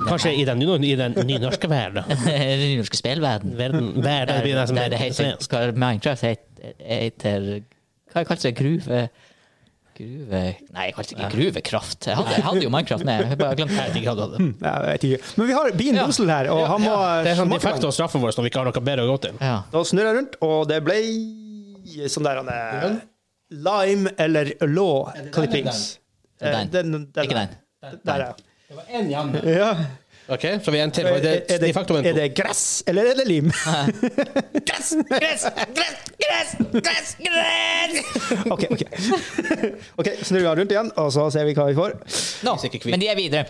[SPEAKER 2] Kanskje i den, i den nynorske verden?
[SPEAKER 1] Den norske spillverden.
[SPEAKER 2] verden, verden blir nesten
[SPEAKER 1] Der det heter,
[SPEAKER 2] svensk.
[SPEAKER 1] skal Minecraft hete- heter Hva jeg kalte det? Gruve... Gruve... Nei, jeg kalte det ikke gruvekraft. Jeg hadde, jeg hadde jo Minecraft med. Jeg bare
[SPEAKER 2] Jeg vet
[SPEAKER 1] glemte det.
[SPEAKER 2] ikke hva det hadde.
[SPEAKER 3] Nei, jeg vet ikke. Men vi har Bean
[SPEAKER 1] Ja.
[SPEAKER 3] Boozled her, og
[SPEAKER 1] Ja,
[SPEAKER 3] han må
[SPEAKER 2] Det er sånn de
[SPEAKER 3] smake
[SPEAKER 2] fekter oss straffen vår når vi ikke har noe bedre å gå til.
[SPEAKER 1] Ja.
[SPEAKER 3] Da snurrer jeg rundt, og det ble sånn der han er Lime eller law clippings.
[SPEAKER 1] Det er den.
[SPEAKER 3] Eh, den- den-
[SPEAKER 1] Ikke den.
[SPEAKER 3] Der, ja.
[SPEAKER 2] Det var én igjen.
[SPEAKER 3] ja.
[SPEAKER 2] Ok, så vi er en til.
[SPEAKER 3] Er,
[SPEAKER 2] Det,
[SPEAKER 3] er,
[SPEAKER 2] de
[SPEAKER 3] det,
[SPEAKER 2] facto en
[SPEAKER 3] er det gress, eller er det lim?
[SPEAKER 1] Gress, gress, gress, gress, gress, gress!
[SPEAKER 3] OK, ok. Ok, Snurrer han rundt igjen, og så ser vi hva vi får.
[SPEAKER 1] Nå,
[SPEAKER 2] Sikkert kvitt.
[SPEAKER 1] men de er videre.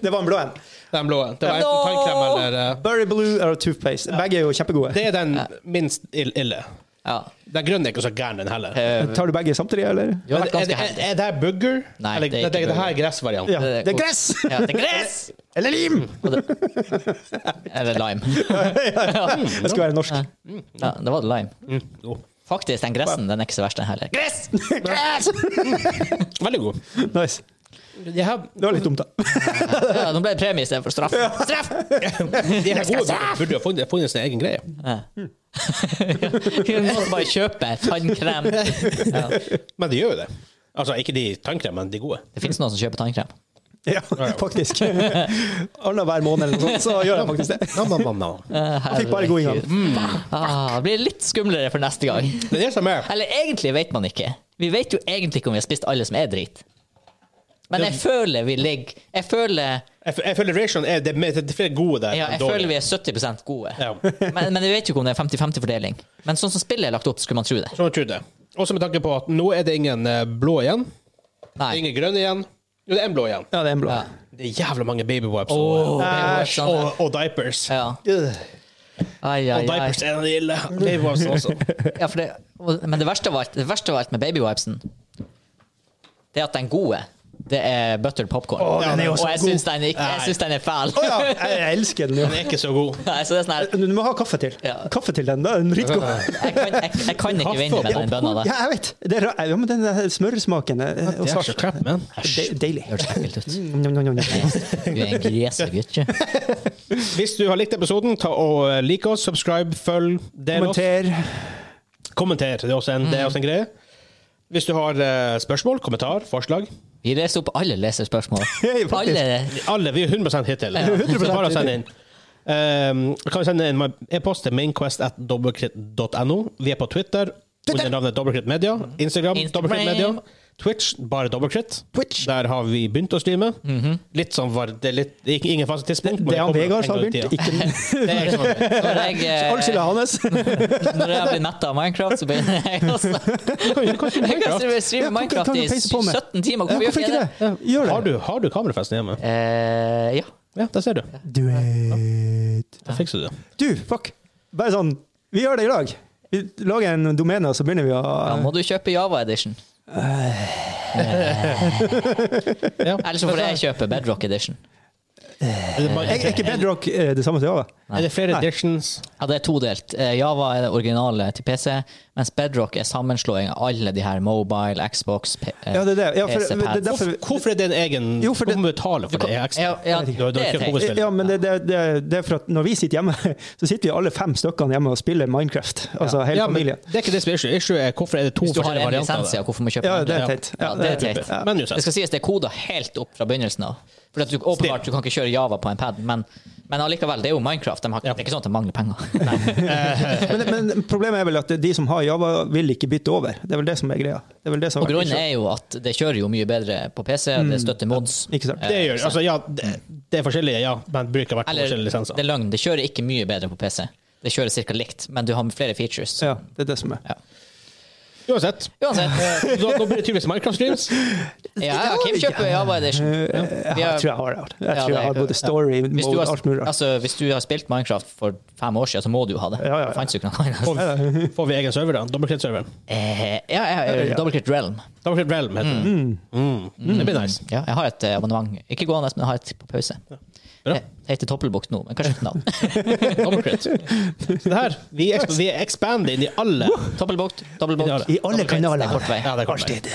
[SPEAKER 3] Det var en blå en.
[SPEAKER 2] Den blå. Det
[SPEAKER 1] No!
[SPEAKER 2] var enten tannkrem eller eh,
[SPEAKER 3] Berry Blue eller Toothpaste. Begge er jo kjempegode.
[SPEAKER 2] Det er den minst ill- ille.
[SPEAKER 1] Ja.
[SPEAKER 2] Den grønne er ikke så gæren, den heller.
[SPEAKER 1] Eh,
[SPEAKER 3] Tar du begge samtidig, eller?
[SPEAKER 1] Du har
[SPEAKER 2] Men
[SPEAKER 1] vært
[SPEAKER 2] Er,
[SPEAKER 1] ganske
[SPEAKER 2] er,
[SPEAKER 1] handy.
[SPEAKER 2] er det her bugger?
[SPEAKER 1] Nei,
[SPEAKER 2] Eller,
[SPEAKER 1] det er ikke
[SPEAKER 2] det, her er
[SPEAKER 1] bugger.
[SPEAKER 2] gressvarianten.
[SPEAKER 3] Ja. Det er gress!
[SPEAKER 1] Ja, det er gress!
[SPEAKER 3] Eller lim!
[SPEAKER 1] Og det- Eller lime.
[SPEAKER 3] Jeg skal være norsk.
[SPEAKER 1] Ja, det var det lime.
[SPEAKER 2] Mm. jo.
[SPEAKER 1] Faktisk, den gressen den er ikke så verst, den heller.
[SPEAKER 3] Gress! gress!
[SPEAKER 2] Veldig god.
[SPEAKER 3] nice.
[SPEAKER 2] De her,
[SPEAKER 3] Det var litt dumt, da.
[SPEAKER 1] Ja, nå ble det premie istedenfor straff. Straff!
[SPEAKER 2] de her gode burde- burde jo ha funnet, funnet sin egen greie.
[SPEAKER 1] Ja. Vi må bare kjøpe tannkrem. Ja.
[SPEAKER 2] Men de gjør jo det. Altså, ikke de tannkrem, men de gode.
[SPEAKER 1] Det finnes noen som kjøper tannkrem.
[SPEAKER 3] Ja, faktisk. Annenhver måned eller noe sånt, så gjør jeg faktisk det.
[SPEAKER 2] Nam, nam, nam, nam.
[SPEAKER 1] Jeg
[SPEAKER 3] fikk bare god inngang.
[SPEAKER 1] Eh, Ah, det blir litt skumlere for neste gang.
[SPEAKER 2] Det er det som er.
[SPEAKER 1] Eller egentlig vet man ikke. Vi vet jo egentlig ikke om vi har spist alle som er drit. Men jeg føler vi ligger Jeg føler,
[SPEAKER 2] Jeg, f- jeg føler ration er det, mer- det er flere gode der.
[SPEAKER 1] ja, jeg
[SPEAKER 2] enn dårlige.
[SPEAKER 1] føler vi er 70 gode.
[SPEAKER 2] Ja.
[SPEAKER 1] Men, men vi vet jo ikke om det er 50-50-fordeling. Men sånn som spillet er lagt opp, skulle man tro det.
[SPEAKER 2] Sånn tror jeg det. Også med tanke på at nå er det ingen eh, blå igjen. Det er
[SPEAKER 1] Nei.
[SPEAKER 2] ingen grønn igjen. Jo, det er en blå igjen.
[SPEAKER 3] Ja, det er en blå.
[SPEAKER 1] Ja.
[SPEAKER 2] Det er jævla mange babywipes
[SPEAKER 1] Åh,
[SPEAKER 2] og,
[SPEAKER 1] babywipes,
[SPEAKER 2] Æsj, og, og diapers.
[SPEAKER 1] Ja.
[SPEAKER 3] Øh.
[SPEAKER 1] sånn, Ai,
[SPEAKER 2] Og
[SPEAKER 1] ai, ai.
[SPEAKER 2] diapers er den ille. Babywipes også.
[SPEAKER 1] Ja, for det, og- men det verste, av alt, det verste av alt med babywipesen, det er at den gode, det er buttered popcorn.
[SPEAKER 3] Å,
[SPEAKER 2] den er jo
[SPEAKER 1] og
[SPEAKER 3] så
[SPEAKER 1] jeg
[SPEAKER 3] god.
[SPEAKER 1] syns den, ikke- jeg
[SPEAKER 2] Nei.
[SPEAKER 1] syns den er fæl.
[SPEAKER 3] Å ja, jeg jeg elsker den jo.
[SPEAKER 2] Den er ikke så god.
[SPEAKER 1] Nei, så det er sånn her,
[SPEAKER 3] Du må ha kaffe til.
[SPEAKER 1] Ja.
[SPEAKER 3] Kaffe til den, da. er Den dritgod.
[SPEAKER 1] jeg, kan, jeg, jeg kan ikke
[SPEAKER 2] Kaffe
[SPEAKER 1] vinne
[SPEAKER 2] og
[SPEAKER 1] med den bønna der.
[SPEAKER 3] Ja, jeg vet. Det er, ra- ja, men den der smørsmaken eh, og
[SPEAKER 2] Det er så
[SPEAKER 3] svart.
[SPEAKER 2] crap, man.
[SPEAKER 3] Det er Deilig.
[SPEAKER 1] Det høres ekkelt ut.
[SPEAKER 3] Mm, njam, njam, njam.
[SPEAKER 1] Du er en gresegutt.
[SPEAKER 2] Hvis du har likt episoden, ta og eh, like oss, subscribe, følg, del
[SPEAKER 3] Kommenter. Mm.
[SPEAKER 2] oss. Kommenter. Det er også en, det er også en greie. Hvis du har eh, spørsmål, kommentar, forslag
[SPEAKER 1] Vi leser opp alle leserspørsmål.
[SPEAKER 3] Hei, faktisk.
[SPEAKER 1] Alle
[SPEAKER 2] Alle. Vi er 100 hittil.
[SPEAKER 3] 100%
[SPEAKER 2] Så bare send inn. Um, kan vi sende en e-post til mainquest.dobbeltkritt.no. Vi er på Twitter, under navnet Dobbeltkritt Media. Instagram,
[SPEAKER 1] Instagram.
[SPEAKER 2] Dobbeltkritt Media. Twitch, bare Dobbeltkritt.
[SPEAKER 3] Twitch. Mhm.
[SPEAKER 2] Der har vi begynt å streame. Litt sånn var det er litt, ikke- Ingen faste tidspunkt. men
[SPEAKER 3] Det er han
[SPEAKER 2] kommer
[SPEAKER 3] Vegard
[SPEAKER 2] en
[SPEAKER 3] som har
[SPEAKER 2] gang i
[SPEAKER 3] begynt.
[SPEAKER 2] tida. Det er ikke sånn.
[SPEAKER 1] Når jeg,
[SPEAKER 3] All skylda
[SPEAKER 1] eh,
[SPEAKER 3] hans.
[SPEAKER 1] når jeg blir metta av Minecraft, så begynner jeg også. Jeg kan streame-
[SPEAKER 3] Ja,
[SPEAKER 1] streame
[SPEAKER 3] kan-
[SPEAKER 1] Minecraft
[SPEAKER 3] kan du
[SPEAKER 1] i
[SPEAKER 3] peise på med?
[SPEAKER 1] 17 timer. Hvorfor gjør
[SPEAKER 3] Ja, hvorfor
[SPEAKER 1] ikke
[SPEAKER 3] ikke
[SPEAKER 1] jeg
[SPEAKER 3] det?
[SPEAKER 1] det?
[SPEAKER 3] Gjør det.
[SPEAKER 2] Har du, har du kamerafesten hjemme?
[SPEAKER 1] Eh, Ja.
[SPEAKER 2] Ja, der ser du.
[SPEAKER 3] Du vet.
[SPEAKER 2] Da fikser du det.
[SPEAKER 3] Du, fuck. Bare sånn, vi gjør det i dag. Vi lager en domene, og så begynner vi å
[SPEAKER 1] Da må du kjøpe Java Edition.
[SPEAKER 3] Eh.
[SPEAKER 2] Ja.
[SPEAKER 1] Eller så får jeg kjøpe Bedrock Edition.
[SPEAKER 2] Er det, bare,
[SPEAKER 3] Er er
[SPEAKER 2] er
[SPEAKER 3] ikke Bedrock eh, det samme som Java?
[SPEAKER 2] det flere editions?
[SPEAKER 1] Ja, det er todelt. Eh, Java er det originale til PC, mens Bedrock er sammenslåing av alle de her mobile, Xbox, P eh,
[SPEAKER 3] Ja, det er det. Ja, for,
[SPEAKER 1] PC,
[SPEAKER 3] det er
[SPEAKER 1] Pad.
[SPEAKER 3] derfor,
[SPEAKER 2] Hvorfor, hvorfor er det en egen
[SPEAKER 3] Jo, for det-
[SPEAKER 2] Hvorfor må du betale for
[SPEAKER 1] Du kan-
[SPEAKER 2] det? ekstra?
[SPEAKER 1] Ja, ja,
[SPEAKER 2] Du har- du har
[SPEAKER 1] det er
[SPEAKER 2] kjøpt
[SPEAKER 1] teit.
[SPEAKER 2] hovedspill.
[SPEAKER 3] ja, men det, det, det, det er for at når vi sitter hjemme, så sitter vi alle fem stykkene hjemme og spiller Minecraft. Altså hele
[SPEAKER 2] Ja, men
[SPEAKER 3] familien.
[SPEAKER 2] det er ikke det som er issue. Issue er hvorfor er det to
[SPEAKER 1] Hvis du har en
[SPEAKER 2] forskjellige varianter. av
[SPEAKER 1] lisens, ja,
[SPEAKER 2] det?
[SPEAKER 1] hvorfor må du kjøpe
[SPEAKER 3] Ja,
[SPEAKER 1] den?
[SPEAKER 3] det er teit.
[SPEAKER 1] Ja, det er teit.
[SPEAKER 3] Ja.
[SPEAKER 2] Men
[SPEAKER 1] Det
[SPEAKER 2] uansett.
[SPEAKER 1] skal sies det er koda helt opp fra begynnelsen av. For at du, åpenbart, du kan ikke kjøre Java på en pad, men, men allikevel, det er jo Minecraft. De har, Det er ikke sånn at de mangler penger.
[SPEAKER 3] Men, men problemet er vel at de som har Java, vil ikke bytte over. Det er vel det som er greia. Det er vel det som
[SPEAKER 1] Og grunnen er jo at det kjører jo mye bedre på PC, det støtter mods.
[SPEAKER 3] Mm. Ikke sant?
[SPEAKER 2] Det gjør altså, ja, det, det er forskjellige, ja, men bruker hvert
[SPEAKER 1] Eller,
[SPEAKER 2] forskjellige lisenser.
[SPEAKER 1] det er løgn, det kjører ikke mye bedre på PC. Det kjører cirka likt, men du har flere features.
[SPEAKER 3] Ja, det er det som er.
[SPEAKER 2] Uansett.
[SPEAKER 1] Uansett.
[SPEAKER 2] Så Nå blir det tydeligvis Minecraft-streams.
[SPEAKER 1] Ja, ja, Kim kjøper Java Edition.
[SPEAKER 3] Jeg,
[SPEAKER 1] Vi har-
[SPEAKER 3] tror jeg har det. Jeg
[SPEAKER 1] Ja,
[SPEAKER 3] tror
[SPEAKER 1] det-
[SPEAKER 3] jeg har både story
[SPEAKER 1] Hvis du,
[SPEAKER 3] mode og alt mulig
[SPEAKER 1] har,
[SPEAKER 3] rart.
[SPEAKER 1] altså, hvis du har spilt Minecraft for fem år siden, så må du jo ha det.
[SPEAKER 3] Ja, ja, ja.
[SPEAKER 1] Det fantes jo ikke noe annet.
[SPEAKER 2] Får, vi- får vi egen server, da? Dobbeltkritt-serveren.
[SPEAKER 1] Eh, ja, ja, ja, Double Crit Realm.
[SPEAKER 2] Dobbeltkritt Realm heter den. Mm. Det blir nice.
[SPEAKER 1] Ja, jeg har et eh, abonnement. Ikke gående, men jeg har et på pause.
[SPEAKER 2] Bra.
[SPEAKER 1] Det heter Toppelbukt nå, men kanskje ikke navn.
[SPEAKER 2] Dobbeltkritt. Så det her, vi, eksp vi expander inn i alle.
[SPEAKER 1] Toppelbukt, dobbeltbukt.
[SPEAKER 2] Ideale.
[SPEAKER 3] I alle kanaler.
[SPEAKER 1] Det er kort vei.
[SPEAKER 2] Ja, det er kort vei.
[SPEAKER 3] Alltid.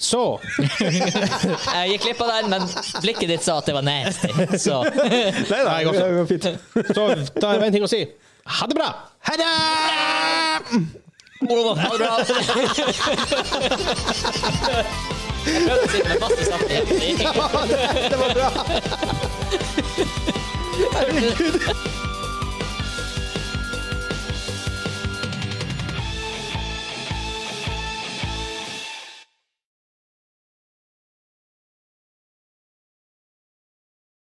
[SPEAKER 2] Så
[SPEAKER 1] Jeg gikk glipp av den, men blikket ditt sa at det var nasty. Så
[SPEAKER 3] Nei da,
[SPEAKER 2] Nei, godt.
[SPEAKER 3] det går fint.
[SPEAKER 2] Så da er det en ting å si. Ha det bra!
[SPEAKER 3] Ha det!
[SPEAKER 1] ha det bra. Jeg prøvde å si det med masse saft igjen. Det gikk ikke.
[SPEAKER 3] Det var bra! Herregud.